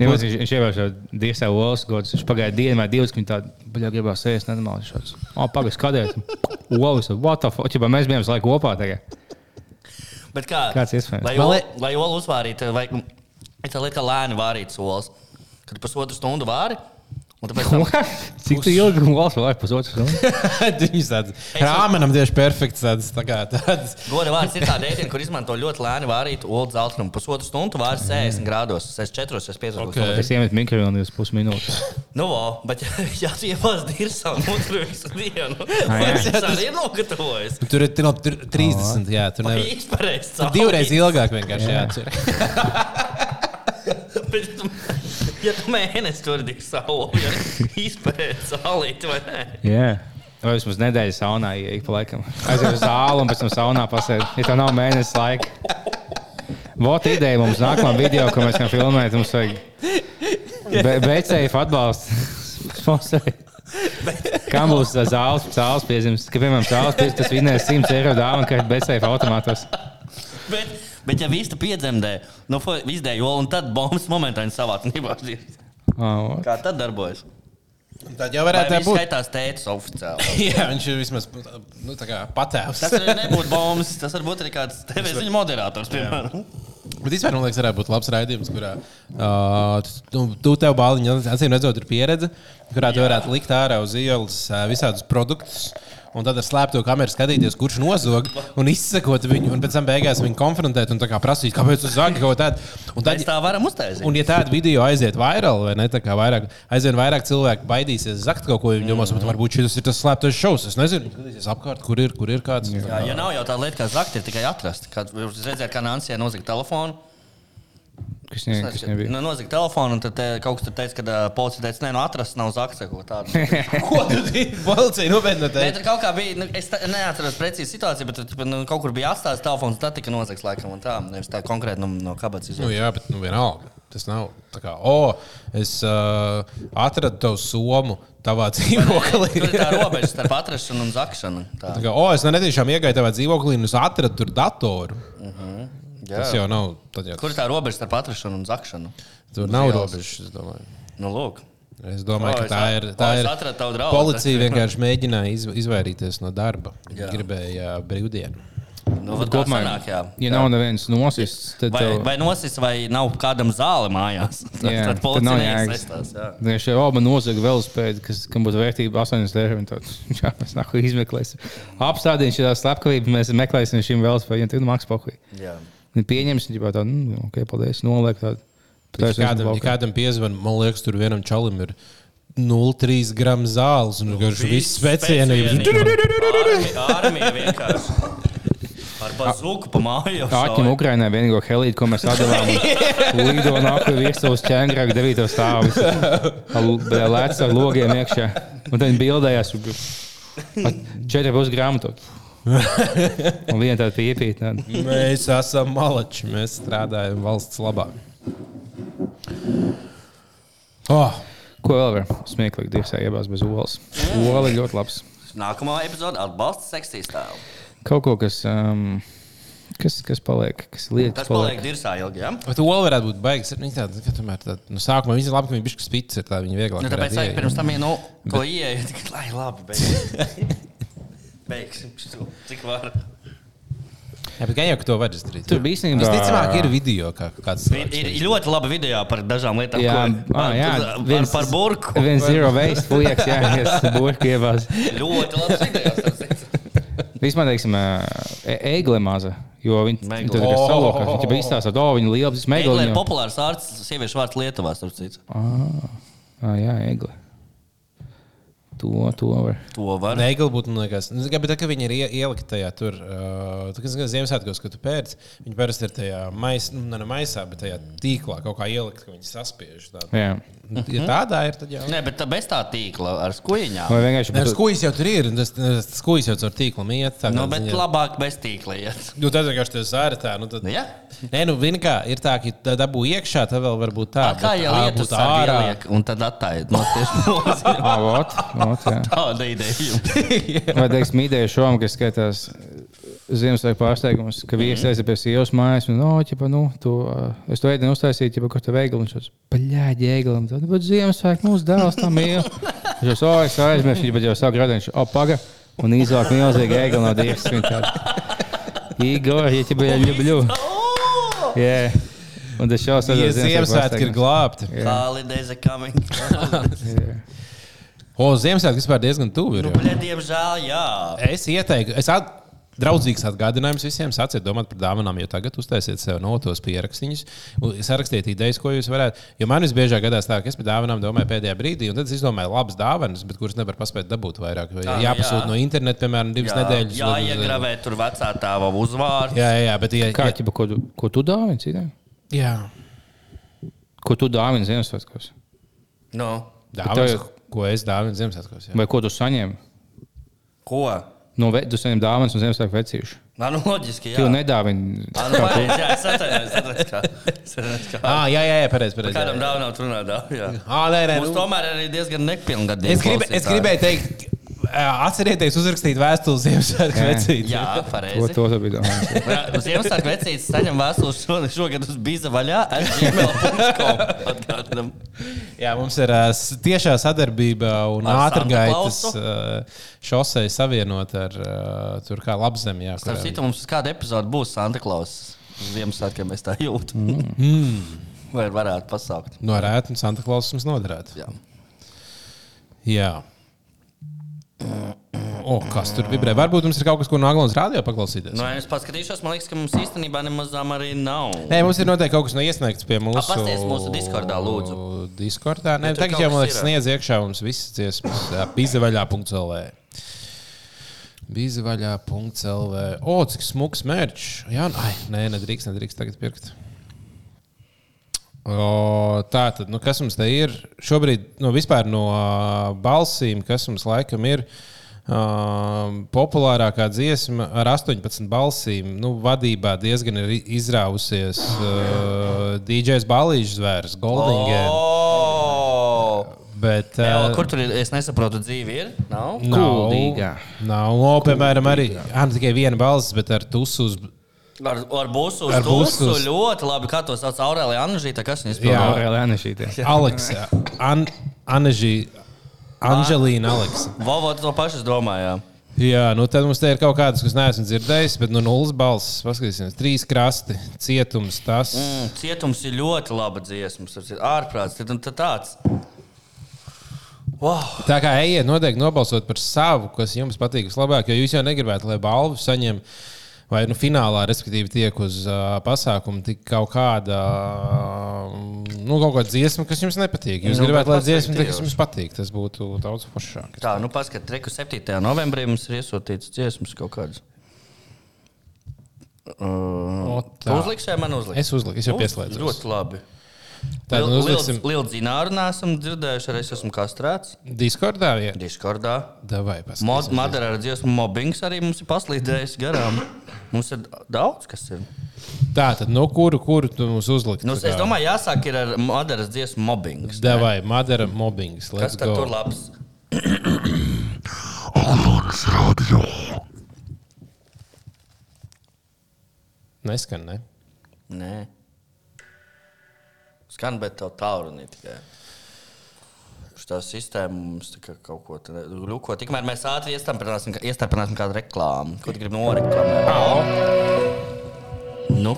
Ja mums viņš viņš ievērš diezā olas gods. Viņš pagāja dienu vai divas, ka viņi tādu, baļā gribās ēst nenormāli šāds. O, pagājas, kādēļ? Olas, what the fuck? Ķipā, mēs bijām visu laiku kopā tagad.
Bet kā,
Kāds iespējams?
Lai,
Man
ol,
lie-
lai olu uzvārītu, vai ir tā lieta, kā lēni vārīt solis. Kad pusotru stundu vāri, Un tāpēc tam,
Cik tu ilgi gulēji? Vēl pusotru stundu.
Viņš tāds rāmenam tieši perfekts. Tāds, tā kā, tāds.
goda vārds ir tāda ēdiena, kur izmanto ļoti lēni vārīt olu zeltrumu. Pusotru stundu vārds 60 grādos, 64, 65
Ok.
grādos.
Es iemetu mikrofonu uz pusminūti.
Nu, vo, bet ja tu ievāc dirsā un otru visu dienu,
jā.
tad tas arī ir nogatavojis.
Tur ir no, tur, 30. Jā, tur nevar.
Īsti pareizi. cauri.
Divreiz ilgāk vienkārši jāatcer.
Bet, ja tu- Ja tu mēnesi tur dīvi savu, ja izpērci salīti vai nē?
Jā. Vai vismaz nedēļas saunā ienāk pa laikam? Aiziet uz zāli un pēc tam saunā pasēdi. Ja tā nav mēnesis laika. Vot ideja mums nākamā video, ko mēs varam filmēt. Mums vajag be beigts atbalstu. Sponsori. Kam būs tā zāles, zāles piezīmes? Ka, piemēram, zāles piezīmes, tas vinnēs 100 eiro dāvanu, kad beigts automātos.
Bet, bet ja viss piedzemdē, nu, fo- izdēja jolu un tad bombas momentāni savāc nībās. dzird.
Oh,
Kā tad darbojas?
Tad jau
Vai
varētu tā
viss
būt.
skaitās tētis oficiāli?
Jā, viņš ir vismaz nu, tā kā patēvs.
Tas arī nebūtu bombas, tas varbūt arī kāds TV ziņu moderators, piemēram.
Bet vispār, man liekas, varētu būt labs raidījums, kurā uh, tu, tu tev bāliņā, acīm redzot, ir pieredze, kurā tu varētu likt ārā uz ielas uh, visādus produktus. Un tad ar slēpto kameru skatīties, kurš nozog un izsekot viņu, un pēc tam beigās viņu konfrontēt un tā kā prasīt, kāpēc tu zagi kaut ko tādu. Un
Mēs
tad,
tā varam uztaisīt.
Un, ja tāda video aiziet virāli, vai ne, tā kā vairāk, aizvien vairāk cilvēku baidīsies zakt kaut ko, viņi
Mm.
domās, "Bet varbūt šis ir tas slēptais šovs. Es nezinu, skatīsies apkārt, kur ir, kur ir kāds.
Jā, ja nav jau tā lieta, kā zakt, ir tikai atrast. Kad jūs redzat, kā Nācijā nozaga telefonu,
kas ne, kas nebija?
nu, nozaga telefonu, un tad te, kaut kas tur teica, ka uh, policija teica, nē, no atrast nav zakts, ko tādu.
Ko tu dari? Policija nopietni
Nē,
teica.
tur kaut kā bija. Nu, es tā- neatceros precīzi situāciju, bet tur tipa, nu, kaut kur bija atstāts telefons. Tā tika nozagts laikam un tā. Nevis tā konkrēti no, no kabatas
Nu,
izvēlēta.
jā, bet nu, vienalga. Tas nav tā kā, o, es uh, atradu tavu somu tavā dzīvoklī.
Tur ir Nu, tā robeža starp atrašanu un zakšanu. Tā.
Tā kā, o, es netiešām iegāju tajā dzīvoklī, un es atradu tur datoru. Tas
Jā.
jau nav. Tad, jā,
Kur ir tā robeža starp atrašanu un zakšanu?
tur nav robežas. Es domāju,
Nu, lūk.
es domāju
O,
ka
es
tā
at-
ir.
o,
Tā
es
ir
atradu tavu draugu.
policija vienkārši mēģināja iz, izvairīties no darba.
Jā.
Viņi gribēja ā, brīvdienu.
Nu, vat tā
Kopumā,
sanāk, jā.
ja nav neviens nosists, tad
Vai,
tev-
vai nosis, vai nav kādam zāle mājās? Tad,
Jā,
tad
tad
policija
nav jēgas.
neiesaistās. jā.
Viņš jau man nozaga velospēdu, kas kam būtu vērtība 80 eiro. un tad, Jā, mēs nāku izmeklēsim. Apstādīsim šādu slepkavību, mēs meklēsim šīm velospēdiem, tad mākslinieks pakāpē.
Jā.
Viņi pieņems, viņš jau tādu, nu, ok, paldies, noliek tādu.
Ja kādam, ja kādam piezvan, man liekas, tur vienam čalim ir 0,3 gramu zāles
Nu,
un viņš ir viss specienības.
Armi- Armija vienkārši. Ar bazooku pa māju.
Āķim Ukrainā vienīgo helīdu, ko mēs atdevām, lido nāku virsū uz ķēngrāku 9 stāvus. Lēc ar logiem iekšā. Un tad viņi bildējās. ar 4,5 grāmatu. Un viena tāda piepīt. Tāda.
Mēs esam malači, mēs strādājam valsts labā. Oh,
Ko vēl var smieklīgi dirzē iebāzt bez olas? Ola ir ļoti labs.
Nākamā epizode atbalsta seksīs tēlu.
Kaut ko, kas, um, kas, kas paliek, kas liek,
Tas paliek dirzā ilgi. Ja?
bet Ola varētu būt baigs. Viņa tāda, ka tomēr tāda, nu, sākumā viņa ir labi, ka viņa bišķi spīts ir tā, viņa vieglāk.
Nu, tāpēc
varētu
es
ieiet.
pirms tam ienāku, ko ieeju. tikai, Lai labi, beigsim. beigsim šo, cik var.
Jā, bet gan jau, ka to var izdarīt.
Tur bija īstenībā-
Visticamāk, ir video kā, kāds.
Ir, ir ļoti labi video par dažām lietām.
Jā,
ko-
ah,
par,
jā,
par,
viens-
par burku.
Viens zero waste liekas, jā, es burku iebāzt.
Ļoti labi video. starp citu.
Vispār, teiksim, ā, e- eigle maza, jo viņi
Meigle.
viņi tur ir salokā. Viņi bija izstāstījuši, ka, oh, viņi liela, tas
Eigle ir
meigle.
populārs vārds, sieviešu vārds Lietuvā. starp citu.
Ah, jā, eigle. To, to var.
To var.
Nē, galbūt, man liekas, Nu, tā kā- bet tā, ka viņi ir ie- ielikt tajā tur, uh, tā kā zini, Ziemassvētkos, kad tu pērci, viņi parasti ir tajā maisā, nu, ne maisā, bet tajā tīklā kaut kā ielikt, ka viņi saspiež. Tā.
Jā. Mhm.
Ja tādā ir, tad jau.
Nē, bet tā bez tā tīkla ar skuiņām.
Vai vienkārši
Ar
pat-
skūjas jau tur ir, un tas, tas skūjas jau ar tīklu iet. Tā,
Nu,
kā
bet
ziņā.
labāk bez tīkla iet.
Nu, tad vienkārši tas zāra tā, nu, tad...
Nu, Jā,
Nē, nu, vien kā ir tā, ka tā dabū iekšā, tad vēl varbūt tā.
tā Ah, kā
bet
jau
ā,
lietas
būtu ārā.
ārā. Un tad attaid. No, tieši nozīme.
Ah, vot, vot, jā.
Tāda ideja jums.
Vai teiksim, ideja šovam, kas skatās Ziemassvētku pārsteigumus, ka vīrs aiziet pie sievas mājas, un, no, ķipa, nu, tu, uh, es to ēdienu uztaisīju, ķipa, kur tu veikali, un viņš saka, paļāģi, ēgalam, tad, nu, bet Ziemassvētku mūsu dēls tam mīl. Viņš jau, o, es aizmirsu, viņš jau sāk radīt, viņš, o, paga, un izvāk milzīgi ēgalu no dievs. Igor, ja ķipa, ja ļubļu.
O!
Jā, Un tas šausmas
Tie Ziemassvētki ir glābti.
Holidays are coming.
O, Ziemassvētki vispār diezgan tuvu ir.
Nu,
jo.
bļa, Diemžēl, jā.
Es ieteiktu, es at... draudzīgs atgādinājums visiem, sāciet domāt par dāvanām, jo tagad uztaisiet sev no tos pierakstīņus, un sarakstiet idejas, ko jūs varētu. Jo man visbiežāk gadās tā, ka es par dāvanām domāju pēdējā brīdī, un tad es izdomāju labas dāvanas, bet kuras nevar paspēt dabūt vairāk. Vai
Tā,
jāpasūta
jā.
no interneta, piemēram, divas
Jā,
nedēļas.
jā iegravē tur vecā tēva uzvārdu.
Jā, jā, jā, bet ja,
Kā ķipa, ko, tu- ko tu dāvini citiem?
ja, jā.
Ko tu dāvini Ziemassvētkos?
Nu,
Dāvanas,
tev-
ko es dāvinu Ziemassvētkos. jā.
Vai ko tu saņēmi?
ko?
No ve, tu saņem dāvanas un Ziemassvētku vecīšu.
Man loģiski,
Tu
jā.
nedāvini.
Ā, nu, pareizi, jā, es atceros, atceros, kā. Es atceros, kā.
Ā, Ah, Jā, jā, jā, pareizi. pareizi, jā,
Kādam
jā.
dāvinām tur nādā. Jā.
Ā, nē, nē,
Mums
nu-
tomēr arī diezgan nepilngadīgi.
Es, grib, es gribēju teikt, ā, atcerieties, uzrakstīt vēstuli Ziemassvētku
Jā.
vecītājiem.
Jā,
Ko
pareizi.
to tu biji dāvinājis?
Uz Ziemassvētku vecītes saņem vēstules šogad, šogad uz Biza vaļā. ar gmail.com. Atgādinam.
Jā, mums ir ā, s- tiešā sadarbība un
Ar
ātrgaitas
Santa
ā, šosei savienot ar ā, tur kā labzemi. Jā,
Starp
kurā-
citu, mums uz kādu epizodu būs Santa Klausa. Uz Ziemassvētkiem es tā jūtu. Mm. Vai varētu pasaukt?
no rēta un Santa Klausa mums noderētu.
Jā.
Jā. O, kas tur vibrē? Varbūt mums ir kaut kas, ko no Anglas rādio paklausīties.
Nu, ja es paskatīšos, man liekas, ka mums īstenībā nemazām arī nav.
Nē, mums ir noteikti kaut kas no iesniegts pie mums.
pasties mūsu Discordā, lūdzu.
Discordā. Nē,
Ja tur
tagad
kaut
jau man
kas
liekas,
ir.
sniedz iekšā mums visas dziesmas. Bizevaļā.cl. Bizevaļā.cl. O, cik smuks mērķis. Jā, nu, ai, nē, nedrīkst, nedrīkst tagad pirkt. O, tā tad, nu, kas mums te ir? Šobrīd, nu, vispār no ā, balsīm, kas mums laikam ir ā, populārākā dziesma ar 18 balsīm, nu, vadībā diezgan ir izrāvusies ā, DJs Balīņš Zvērs, Goldingers.
Oh!
Bet,
Jā,
ā,
kur tur ir? Es nesaprotu, dzīve ir. Nav.
Nav,
Kuldīgā.
nav o, piemēram, arī ā, nu, tikai viena balss, bet ar tusu uz.
Ar, ar busu
Ar
uz busu
busu uz-
ļoti labi. Kā to sauc Aurēlija Anžīta? Kas viņas
Jā.
spēlē?
Jā, nu, Lēna šī. tie.
Aleksa, An Anaži, Anželīna Aleksa.
Vovo to pašu domāja.
Jā, nu tad mums te ir kaut kādas, kas neesmu dzirdējis, bet no nulles balss. Paskatīsimies, trīs krasti, cietums, tas. Mm.
Mm, cietums ir ļoti laba dziesma. Tas ir ārprāts. Tad, tad tāds. Wow.
Tā kā ejiet, noteikti nobalsot par savu, kas jums patīk vislabāk, jo jūs jau negribētu, lai balvu saņem. Vai nu finālā, respektīvi, tiek uz uh, pasākumu tik kaut kāda, uh, nu, kaut kāda dziesma, kas jums nepatīk. Jūs
Nu,
nu, gribētu,
bet
lai dziesma,
pasakti
tā, kas
jau.
jums patīk, tas būtu daudz foršāk.
Tā, nu paskatās, reku 7. novembrī mums ir iesūtīts dziesmas kaut kādas. Uh,
Nu, tā.
uzliksim, man uzliksim.
Es uzliku, es jau pieslēdzu.
Ļoti labi.
Tad nu, uzliksim
Lielu zināru nesam dzirdējuši, arī es esmu kastrēts.
Discordā, ja
Discordā.
tā vai
Mod-
paskatīsim.
Madara ar dziesmu mobbings arī mums ir paslīdējis garām. Mums ir daudz, kas ir.
Tā tad, no kuru, kuru tu mums uzliksi?
Nu, es domāju, jāsāk ir ar Madaras dziesmu mobbings.
Davai, Madara mobbings.
Kas
Let's
tad tur
go.
labs?
Neskan, ne?
Nē. Skan, bet tev tālruni tikai. Tā sistēma mums tā kā kaut ko tādu gluko. Tikmēr mēs ātri iestarpināsim, iestarpināsim kādu reklāmu. Ko tu gribi noreklamēt?
Au!
Nu.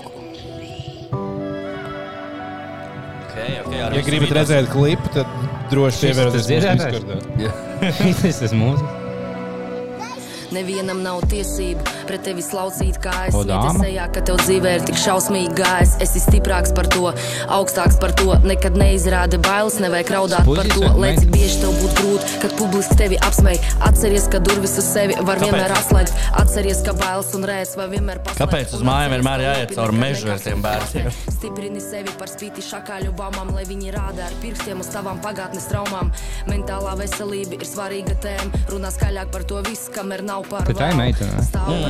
Okay, okay, ar
Ja
visu
gribat
vidu-
redzēt klipu, tad droši
tas
pievērties mūsu
dziedātājs?
diskordā.
Tas tas mūsu.
Nevienam nav tiesību pret tevi slaucīt, kā es
O, dāma?
sejā, ka tev dzīvē ir tik šausmīgi gājis. Es esmu stiprāks par to, augstāks par to. Nekad neizrādi bailes, nevajag raudāt par to.
Puzīsiet,
Lai
meita.
cik bieži tev būtu grūti, kad publiski tevi apsmej. Atceries, ka durvis uz sevi var
Kāpēc?
vienmēr atslēgt. Atceries, ka bailes un rēs var vienmēr paslēgt.
Kāpēc uz
Un
mājām
atceries,
vienmēr
ka
jāiet
nopietni
cauri
nekad
mežu ar tiem
nekāds
bērniem?
nekas. Stiprini sevi par spīti šakāļu baumām, lai viņi rāda ar pirkstiem uz tavām pagātnes traumām. Mentālā veselība ir svarīga tēma. Runā skaļāk par to visu, kam ir nav pārāk.
Bet tā ir meitene, ne?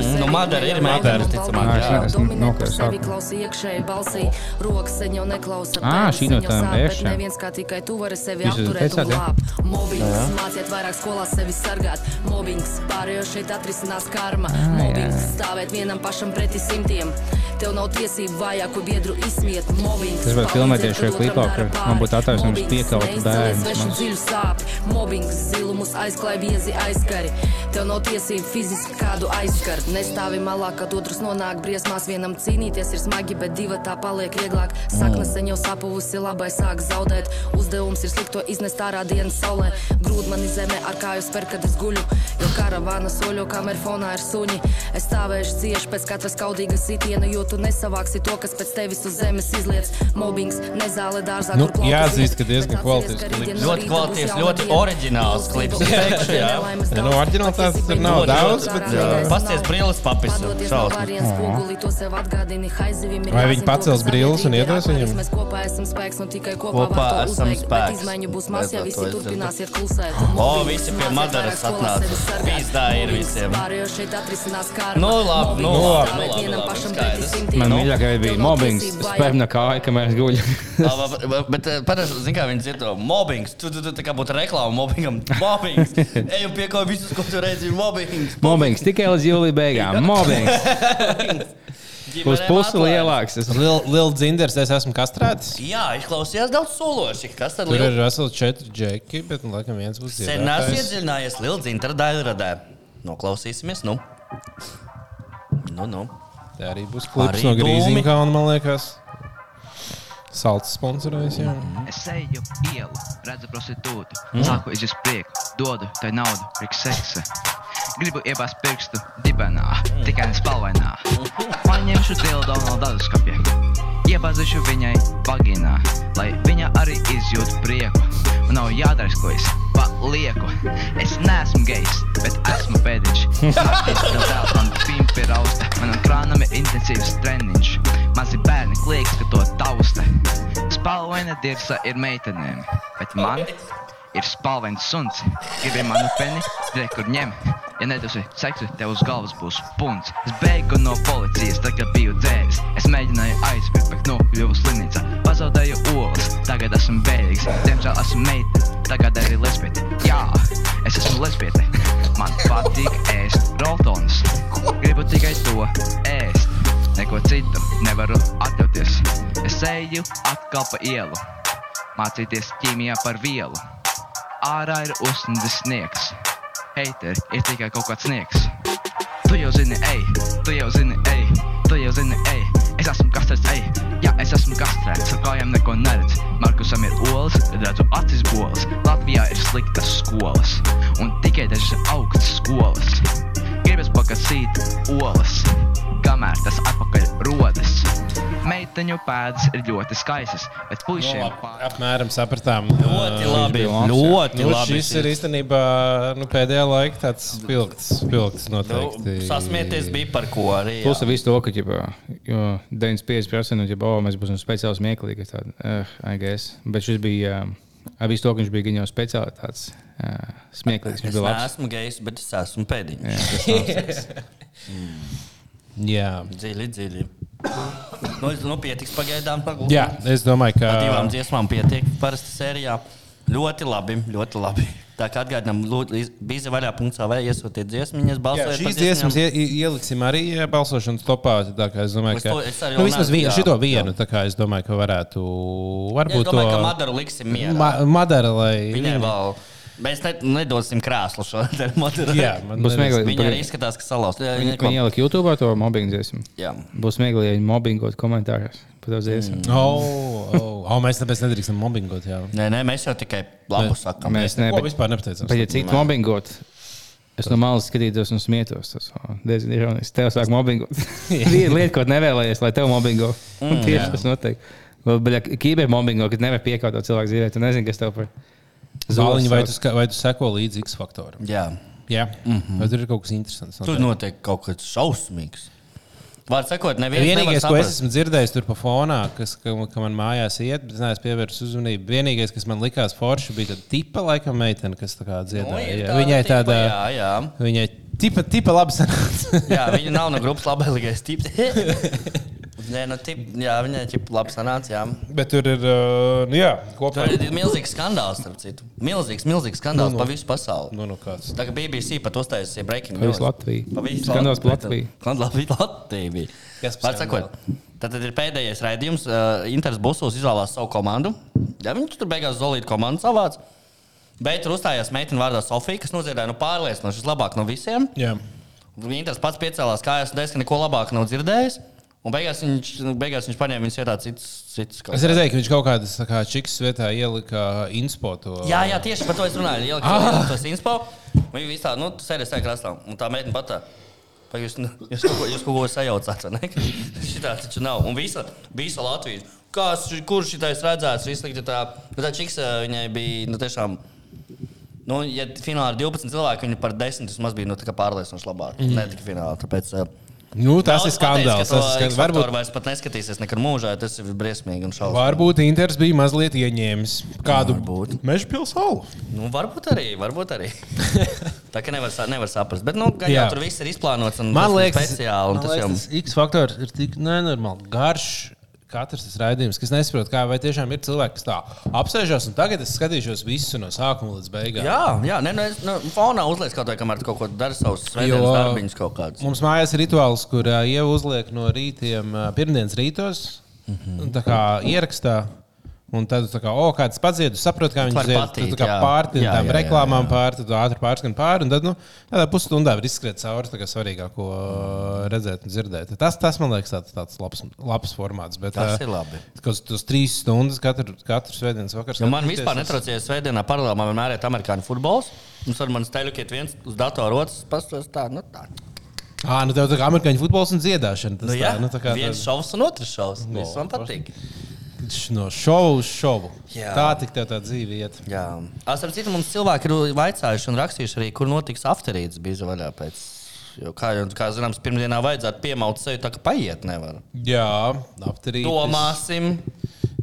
Mm, nu, Madara ir meitene, visticamāk,
jā. Nē, es nokavēju sākumu.
Klausa iekšēji balsī, rokas sen jau neklausa.
Ā,
tēvs
šī
sen
no
jau
tām
sāp, bet
bēršiem.
Neviens kā tikai tu vari sevi
Jūs
apturēt
teicāt,
un
jā?
glābt. Mobbings, māciet vairāk skolā sevi sargāt. Mobbings, pārējo šeit atrisinās karma.
jā,
Mobbings,
jā.
stāvēt vienam pašam pretī simtiem. Tev nav tiesību vājāku biedru izsmiet mobbings.
Es vēl filmēties šajā klipā, kur man būtu attaisnojums piekaut bērnus,
Svešu
man-
dziļu sāpju, mobbings, zilumus aizklāj viezi aizkari. Tev nav tiesību fiziski kādu aizskart. Nestāvi malā, kad otrs nonāk briesmās. Vienam cīnīties ir smagi, bet divi tā paliek vieglāk. Sakna sen jau sapuvusi, labai sāk zaudēt. Uzdevums ir slikto iznest ārā dienas saulē. Grūti man izemē ar kāju spēr, kad es guļu. Jo karavāna soļo, kamēr fonā ir suņi. Es stāvēšu cieši pēc katras kaudīgas sitiena, jo tu nesavāksi to, kas pēc tevis uz zemes izliec. Mobbings, nezāle dārzā.
Nu,
kur plaukas
jāatzīst, ka
iet,
diezgan
bet
kvalitīvs
atceries, ka
klips.
rītdien no
Ļoti
rīta
kvalitīvs,
būs jauna
ļoti
diena.
oriģināls klips. es teikšu, jā.
Nu, oriģinālitātes tur nav
Ļoti,
daudz,
ļoti.
bet,
Jā.
jā.
Pasties brilles papis.
Padoties no
Šausmas.
varienas spoguli, to sev atgādini, haizivim ir
Vai viņi
jāzina, ko
pacels
tas
brilles un
sabiedrība ir
iedos
atpazīst.
viņam?
Mēs kopā esam spēks, un tikai kopā,
Kopā
var
esam
to uzveikt, bet
spēks.
Izmaiņu būs maz, ja
Redzot, to
visi
es
turpināsiet klusēt.
O, visi pie Madaras atnāca. Pīzdā ir visiem.
Pārējo šeit atrisinās kārtas.
Nu, labi, nu, labi, nu, labi, labi, skaidrs. Nu?
Man mīļākais bija mobbings. Es spēju no kāja, kamēr es guļu.
Ā, va- va- Bet eh, parasti, zin kā viņi dzird to mobbings, tu, tu, tu tā kā būtu reklāma mobbingam. Mobbings! Ej un piekoju visus, ko tu redzi, ir mobbings!
Mobbings tikai līdz jūlija beigām. Mobbings uz
Ģimenēm
pusi
atlaid.
lielāks. Es
Liela dzinders, es esmu kastrēts.
Jā, izklausījās daudz sološi. Kas tad
Tur
ir?
ir veseli četri džeki, bet, nu, laikam, viens būs
Sen esmu
dzirdētājs.
iedziļinājies Lielzīna daļradē. Noklausīsimies, nu. Nu, nu.
Tā arī būs klips
Arī
no
dūmi.
Grīziņkalna, man liekas. Salts sponsorējas, jā.
Es eju ielu, redzu prostitūtu, mm. sāku izjust prieku, dodu tai naudu, priekš seksa. Gribu iebāzt pirkstu dibenā, mm. tikai ne spalvainā. Paņemšu dildo no datoskapja, iebāzīšu viņai vaginā, lai viņa arī izjūtu prieku. Man nav jādara, ko es palieku. Es neesmu gejs, bet esmu pēdiņš. Naktis vēl dēls man pimpi rausta, manam krānam ir intensīvs treniņš. Mazi bērni kliedz, ka to tausta. Spalvaina dirza ir meitenēm, bet man ir spalvains suns. Gribi manu peni, re, kur ņem. Ja nedosi seksu, tev uz galvas būs punts. Es beigu no policijas, tagad biju dzēris. Es mēģināju aizbēgt, bet nokļuvu slimnīcā. Pazaudēju olas, tagad esmu bēdīgs. Diemžēl esmu meitene, tagad arī lesbiete. Jā, es esmu lesbiete. Man patīk ēst rotonus. Gribu tikai to ēst. Neko citu nevaru atļauties. Es eju atkal pa ielu, mācīties ķīmijā par vielu. Ārā ir uzsnudis sniegs. Heiter ir tikai kaut kāds sniegs. Tu jau zini, ej, tu jau zini, ej, tu jau zini, ej. Es esmu kastrēts, ej, jā, es esmu kastrēts, ar kājām neko neredz. Markusam ir olas, redzu acis bolas. Latvijā ir sliktas skolas, un tikai dažas augstas skolas. Gribas pakasīt olas, kamēr tas atpakaļ rodas. Meiteņu pēdas ir ļoti skaistas, bet puišiem pārāk.
Apmēram sapratām.
Ļoti labi.
bija labs, jā.
Ļoti
Nu,
labi.
šis ir īstenībā nu, pēdējā laikā tāds spilgts, spilgts
Nu,
noteikti.
Sasmieties bija par ko arī. jā.
Plus ar visu to, ka ģipa, jo 95% no ģipa, oh, mēs būsim speciāli smieklīgi. es Tādu, uh, I guess. Bet šis bija, um, ar visu to, ka viņš bija gan jau speciāli tāds uh, smieklīgs.
Es
Viņš bija labs.
neesmu gejs, bet es esmu pēdiņš.
Jā.
Dziļi, dziļi. Nu, es- nu pietiks pagaidām. pagulēt.
Jā, es domāju, ka.
Divām dziesmām pietiek parasti sērijā. Ļoti labi, ļoti labi. Tā kā atgādinām, bija vaļā punktā, vai iesūtiet dziesmiņas,
Jā,
balsojiet
šīs
par dziesmām.
dziesmas ie, ie- ieliksim arī ā, balsošanas topā. Tā kā es domāju,
Es
ka
to- es arī
nu,
vēl
vismaz
neesmu-
vien,
jā,
šito vienu tā kā es domāju, ka varētu.
Ja Es
Varbūt
domāju, ka
to
Madaru liksim mierā. Ma
Ma- Madara, lai
Viņai
viņa-
vēl. Mēs ne, nedosim krēslu šodien. Madarai.
Jā, man liekas-
Būs smieklīgi.
Viņa arī
pagaid-
izskatās, ka salauz. Jā,
Viņi
viņa
viņi ielika YouTube to mobbingdzēsim.
Jā.
Būs smieklīgi, ja viņi mobbingot komentāros. Patauzies. Mm.
Oh, oh, oh, mēs tāpēc nedrīkstam mobbingot. Jā.
Nē, nē, mēs jau tikai labu sakām.
Mēs
Ne,
ne,
Ko
bet,
vispār nepateicām?
bet ja citu mobbingot, es no malas skatītos un smietos. Tas oh, diezgan ironiski. Tev sāk mobbingot. Viena lieta, ko nevēlējies, lai tev mobbingo. Mm, tieši tas notiek. Vēl bija kibermobbingo, kad nevar piekāpt to cilvēku dzīvē. Tu nezini, kas tev par
Zāliņi, vai,
sauc.
tu ska- vai tu seko līdzi X faktoram?
Jā.
Jā, mm
Mhm.
-hmm. vai tur ir kaut kas interesants?
Tur notiek kaut kas šausmīgs. Vārds sakot, neviens nevar
Vienīgais, ko es
saprast.
esmu dzirdējis tur pa fonā, kas ka, ka man mājās iet, bet es neesmu pievērsis uzmanību. Vienīgais, kas man likās forši, bija tāda tipa, laikam, meitene, kas tā kā
Nu,
dziedāja.
ir
jā.
tāda
Viņai
tipa,
tāda,
Jā, jā.
viņai tipa, tipa labi sanāca.
jā viņa nav no grupas labākais tips. Nē, nu, tip, jā, viņai ir labi sanācis. Jā.
Bet tur ir uh, nu, jā, kopā.
Tur ir milzīgs skandāls, starp citu. Milzīgs, milzīgs skandāls
Nu, nu.
nu, nu. pa visu pasauli.
Nu, nu kāds.
Tā kā BBC pat uztaisīja breaking
Pa visu Latviju.
Pa visu
Skandāls pa Latviju.
Latviju. Latviju.
Kas par
Vārds sakot, tad ir pēdējais raidījums. Uh, Interes Busls izvēlās savu komandu. Ja viņš tur beigās zolīta komandu savāc. Bet tur uzstājās meitene vārdā Sofija, kas nodziedāja nu, pārliecinoši vislabāk no visiem.
Jā.
Viņa interesi pats piecēlās kājās, un es neko labāk nav dzirdējis. Un beigās viņš, nu, beigās viņš paņēma viņas vietā cits. cits kaut
Es redzēju, ka viņš kaut kādas tā kā, čiks vietā ielika inspotu.
Jā, jā, tieši par to es runāju. Ielikt ah. to inspo. Viņa visā, nu, tu sēdies tajā krastā. Un tā meitene patā. Pa jūs, nu, jūs, kaut ko, jūs kaut ko sajaucāt, vai ne? Šitā taču nav. Un visa, visa Latvija. Kas, kurš šitais redzēts? Vislikti tā. nu, Tā čiksa viņai bija, nu, tiešām. Nu, ja finālā ir 12 cilvēki, viņi par 10 vismaz bija nu, tā kā pārliecinoši labāk. Mm. Ne tikai finālā. Tāpēc, uh,
Nu, Mhm. tas
daudz
ir skandāls.
pateica, ka
Tas ir
to
skandāls.
X Factoru
Varbūt,
vairs pat neskatīsies nekad mūžā. Tas ir briesmīgi un šausmīgi.
varbūt Inters bija mazliet ieņēmis kādu
Varbūt.
meža pilsētu.
Nu, varbūt arī. Varbūt arī. tā kā nevar, sa- nevar saprast. Bet, nu, gan jau
Jā.
tur viss ir izplānots un
Man
tas ir
liekas,
speciāli. un
man
Tas jau
liekas, tas X faktors ir tik nenormāli garš. Katrs tas raidījums, kas nesaprot, kā vai tiešām ir cilvēki, kas tā apsēžās, un tagad es skatīšos visu no sākuma līdz beigām.
Jā, jā nē, nu, es, nu, fonā uzliek kaut ko, kamēr tu kaut ko dari savus svētdienas
Jo-
darbiņus kaut kādus.
Mums mājās ir rituāls, kur uh, jau uzliek no rītiem, uh, pirmdienas rītos,
Mhm.
un tā kā ierakstā. Un tad, tā kā, o, kāds padzied, tu saproti, kā viņš
Var
dzied.
patīt,
Tad, tā kā
jā.
pārti,
Jā,
tām
jā, jā,
reklāmām pārti, tu ātri pārskan pāri, un tad, nu, tādā pusstundā var izskriet cauri, tā kā svarīgāko uh, redzēt un dzirdēt. Tas, tas man liekas, tāds, tāds labs, labs formāts. Bet,
Tas
uh,
ir labi.
Kaut kas tos trīs stundas katru, katru svētdienas vakaru.
Nu, man vispār netraucēja svētdienā paralēli, man vienmēr ir amerikāņu futbols. Mums ar mani steļu, ka viens uz datora otrs pastāv tā, nu tā.
Ā, nu tev tā kā amerikāņu futbols un dziedāšana. Tas
Nu, jā,
tā, nu, tā kā
viens
tā- Nu,
šovs un otrs šovs.
No,
Viss man
forši.
patīk.
No šovu uz šovu.
Jā.
Tā tik tev tā dzīve iet.
Jā, es saprotu, mums cilvēki ir vaicājuši un rakstījuši arī, kur notiks afterīds bija vaļā pēc. Jo, kā jau kā zināms, pirmdienā vajadzētu piemaut sevi, tā ka paiet nevar.
Jā, aptarīt.
Domāsim,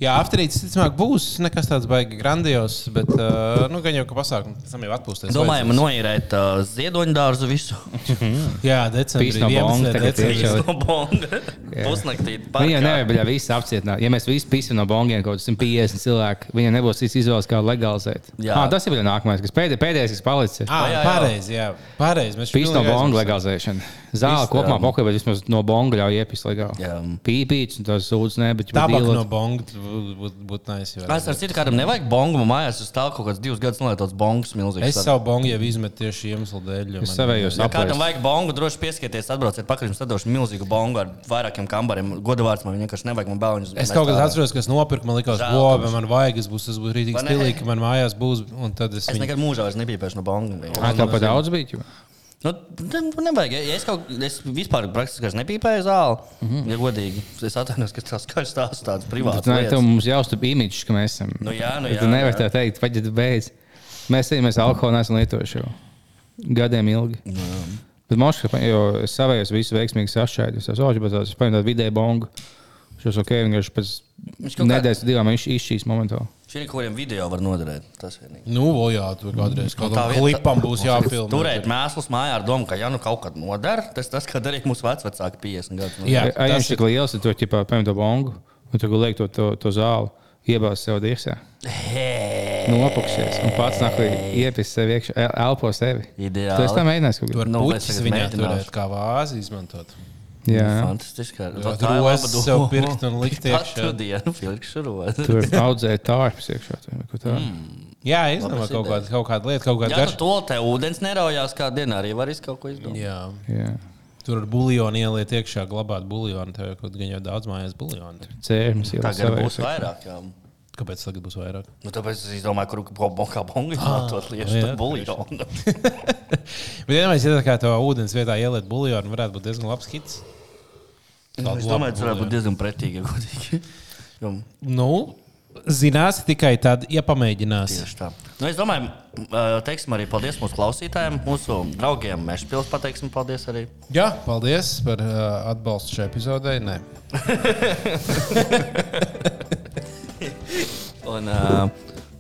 Jā, aptarīt, ticamāk, būs nekas tāds baigi grandios, bet, uh, nu, gan jau, ka pasākumu pēc tam jau atpūsties.
domājam, nu- noīrēt uh, ziedoņdārzu visu.
vajadzēs. Jā, decembrī.
Pīs no
11.
bonga tagad
decembrī.
iekšā.
Visu no bonga. Pusnaktī.
Nu,
Viņa
uh, parkā.
Nu, nevar būt visi apcietināti. Ja mēs visi pīsim no bongiem kaut kādus 150 cilvēku, viņa nebūs īsti izvēles, kā legalizēt.
Jā.
Ah, tas ir vēl nākamais, kas pēdējais, pēdējais kas palicis. ir
Ā,
Jā, jā, jā.
pareizi, jā. Pareizi. mēs
Nu,
Pīst no
pilnīgi
bonga
aizmirst.
legalizēšana. Zāle
Pīst,
kopumā
jā.
pokoj, bet vismaz no bonga ļauj iepīst legāli.
um, Jā.
Pīpīts un tas sūdzes nē, bet
Tabaka
dīlot.
no bonga būtu būt, būt naisi.
Es ar citu kādam nevajag bongu, man mājās uz tālu kaut kāds divus gadus nolietots bongas milzīgs.
Es savu bongu jau izmetu tieši iemeslu dēļ. jo
Es
man-
savējos
Ja kādam
apgāju.
vajag bongu, droši pieskieties, atbrauciet pakaļ, jums atdošu milzīgu bongu ar vairākiem kambariem. Godavārds man vienkārši nevajag, man bērniņus.
Es kaut kādā atceros, ka es nopirku, man liekas,
Žēl,
ko
ka mums-
man vajag. Es būs, tas būs rītīgi
Vai ne?
stilīgi, ka man mājās būs. Un tad es,
Es
viņu-
nekad mūžā vairs nebiju pēc no bongas.
Ah, Tev pat daudz bija. ķipa?
Nu, tam nevajag. Ja es, kaut, es vispār praktiski vairs nepīpēju zāli. Mm -hmm. Ja godīgi, es atvainojos, ka tas skaļs stāsts tāds privāts.
Mhm. Bet, Nē, tev mums jāuztur imidžs, ka mēs esam.
Nu jā, nu
Bet
jā,
Tu nevari
jā.
tā teikt, paģiet beidz. Mēs ejam, mēs alkoholu neesam lietojuši jau gadiem ilgi.
Nu
Bet moškā, jo es savējos visu veiksmīgi sašķēdu, es esmu ožbatās, es paņēmu tādu vidēju bongu. Šos ok, vienkārši pēc
Viņš kaut kā-
nedēļas divām viņš izšķīs momentā.
Šī ir kaut kādiem video var noderēt. Tas vienīgi.
Nu, o, jā, tur kādreiz kaut
Mm. tā
kādam
vieta-
klipam būs jāfilmē.
Turēt mēslus mājā ar domu, ka ja nu kaut kad noder, tas tas, ko darīja mūsu vecāki 50 gadus. nu.
Jā. tas
Aizņemts
ir-
tik liels, ka tu ķipā paņem to bongu un tu liek to, to, to zāli. Iebāz sev dirsē, nopakšies un pats nāk iepis sev iekšā, el- elpo sevi.
Ideāli.
Tu esi tam mēģinājis kaut
Tur
ko.
var
Nu,
būt
es
puķis
tagad
viņā
mēģināšu.
turēt, kā vāzi izmantot.
Nu,
Jā,
Fantastiski. ar-
Jā,
tā ir laba
rozes sev
doma.
pirkt un likt
Katru
iekšā.
dienu filkšu rozi.
tur audzēja tārpus iekšā. tur vai kaut kā tā.
Jā, izdomā
Labas
kaut,
idejas.
kādu- kaut kādu lietu, kaut kādu
Ja tu
garšu.
to te ūdens neraujās, kā dienā arī var izdarīt kaut ko izdomāt.
Jā.
Jā.
Tur ar buļbuļonu ieliet iekšā, glabāt buļbuļonu. Tev kaut gan jau daudz mājās buļbuļonu.
Cērums jau
Tagad būs vairāk. Jā.
Kāpēc tagad būs vairāk?
Nu, tāpēc es domāju, kur kā bonga izmantot
jā,
lietu buļbuļonu.
Bet, ja mēs iedomājamies, ka to ūdens vietā ieliet buļbuļonu, varētu būt diezgan labs hits.
Es domāju, tas varētu būt diezgan pretīgi, ja godīgi. Jo,
Nu, zinās tikai tad, ja pamēģinās.
Tieši tā. Nu, es domāju, m, ā, teiksim arī paldies mūsu klausītājiem, mūsu draugiem. Mēs pils pateiksim paldies arī.
Jā, paldies par uh, atbalstu šai epizodei. Nē.
Un uh,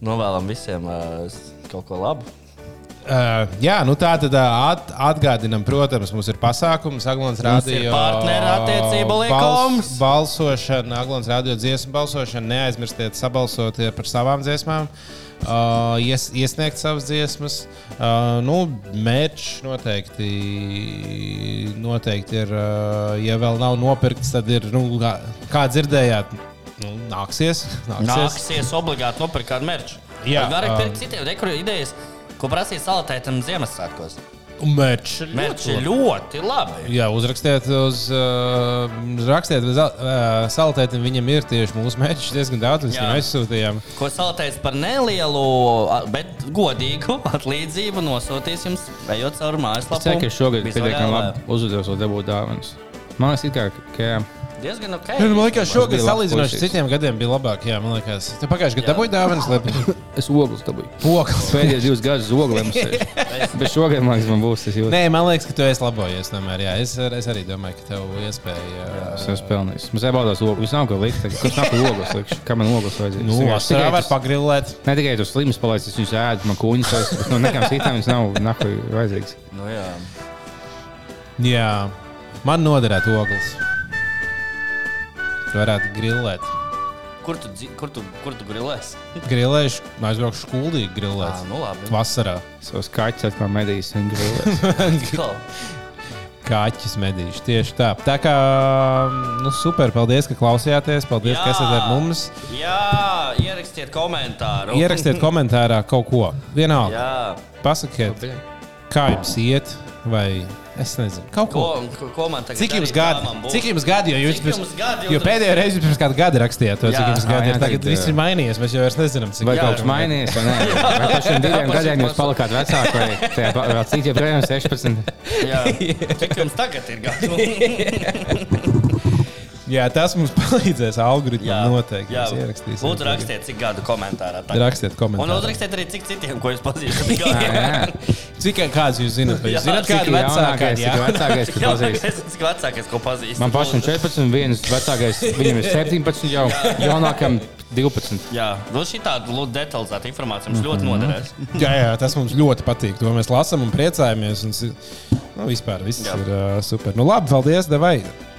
novēlam visiem uh, kaut ko labu.
Uh, jā, nu tā tad ā, at, atgādinām, protams, mums ir pasākums. Aglons
ir
rādīja
partnerattiecību likums.
balsošana, Aglons rādīja dziesmu balsošanu. Neaizmirstiet sabalsot eh, par savām dziesmām, uh, ies, iesniegt savas dziesmas. Uh, nu, mērķis noteikti, noteikti ir, uh, ja vēl nav nopirkts, tad ir, nu, kā, kā dzirdējāt, nu, nāksies. nāksies.
Nāksies obligāti nopirkt kādu merču.
Jā,
var arī
um,
pirkt citiem dekoru idejas, ko prasīja salatētam Ziemassvētkos.
Mērķis ir
Merči ļoti labi.
Jā, uzrakstiet, uz, uh, rakstiet uz uh, salotētam. Viņam ir tieši mūsu mērķis diezgan daudz. Mēs
Jā.
viņam aizsūtījām.
Ko salatēts par nelielu, a, bet godīgu atlīdzību nosūtīs jums, ejot caur mājaslapu.
Es ceru, ka šogad
Visvairāk
pietiekami
lai-
labi uzvedos, lai dabūtu dāvanas. Man liekas, it kā, ka jā.
Diezgan ok.
Nu, Man liekas, šogad
bija labs
salīdzinot ar
puisis.
citiem gadiem bija labāk. Jā, man liekas, tu pagājušajā
Jā.
gadā dabūji dāvanas, lai
es ogles dabūju.
pokas.
Pēdējos divus gadus zoglēm sēž. Bet šogad, man liekas, man būs tas jūtas.
Nē, man liekas, ka tu esi labojies. Tomēr, jā, es, ar- es arī domāju, ka tev iespēja.
Es esmu pelnījis. Mums jābaudās ogles. Viņš nav ko likt. tagad. Kurš nav ko ogles likšu? Kā man ogles vajadzēja?
Nu,
Es vienkārši
vasarā
tikai
var
tas-
pagrillēt.
Ne tikai tas slims palaist, es viņus ēdu, man kūņas vairs. bet No nekām citām viņš nav nahuj vajadzīgs.
Nu, jā.
Jā, man noderētu ogles. Tu varētu grillēt.
Kur tu, dzi- kur tu, kur tu grilēsi?
Grilēšu, aizbraukšu skuldīgi
Ā,
grillēt.
Nu, labi.
Vasarā.
Savus kaķus atkal medīs un grilēs.
Ko?
Kaķis medīšu. Tieši tā. Tā kā nu, super. Paldies, ka klausījāties. Paldies,
Jā.
Jā. ka esat ar mums.
Jā, ierakstiet komentāru.
Ierakstiet komentārā kaut ko. Vienalga.
Jā,
Pasakiet, kā jums iet, vai es nezinu, kaut ko.
ko, ko, ko man tagad
Cik jums
darīt?
gadi?
Kā man būs?
Cik jums gadi? Jo, jūs
Cik
pirms,
jums gadi?
jo
Jūs-
pēdējo reizi jūs pirms kāda gada rakstījāt, to, cik
Jā.
jums gadi
Ā, jā,
ir. Tagad
tagad,
viss
jā.
ir mainījies. Mēs jau vairs nezinām, cik
Vai
gadi
kaut kas
ir.
mainījies, vai nē? Vai pēc šiem diviem gadiem jūs palikāt vecāki, vai tajā pa- vēl cik joprojām 16?
Jā, cik jums tagad ir
Nu,
gadi?
Jā, tas mums palīdzēs algoritmam noteikti.
jā.
Jūs ierakstīsiet.
Lūdzu, rakstiet, cik gadu komentārā. tagad.
Rakstiet
Un
komentārus.
uzrakstiet arī, cik citiem, ko jūs pazīstat.
Jā, jā.
Cik kāds jūs zinat? Vai
Jā,
jūs zināt,
Cik
kāda vecākā?
jaunākais,
Jā.
cik vecākais, kas
Jā,
pazīst?
es esmu vecākais, ko pazīstu.
Man pašam
Lūdzu.
14, viens vecākais, viņam ir 17 jau, jaunākam 12.
Jā, nu šī tāda lūdzu detalizēta informācija
Mhm.
mums ļoti noderēs.
Jā, jā, tas mums ļoti patīk. To mēs lasām un priecājamies. Un, si- nu, vispār viss jā.
Jā.
ir uh, super. Nu, labi, paldies, Devai.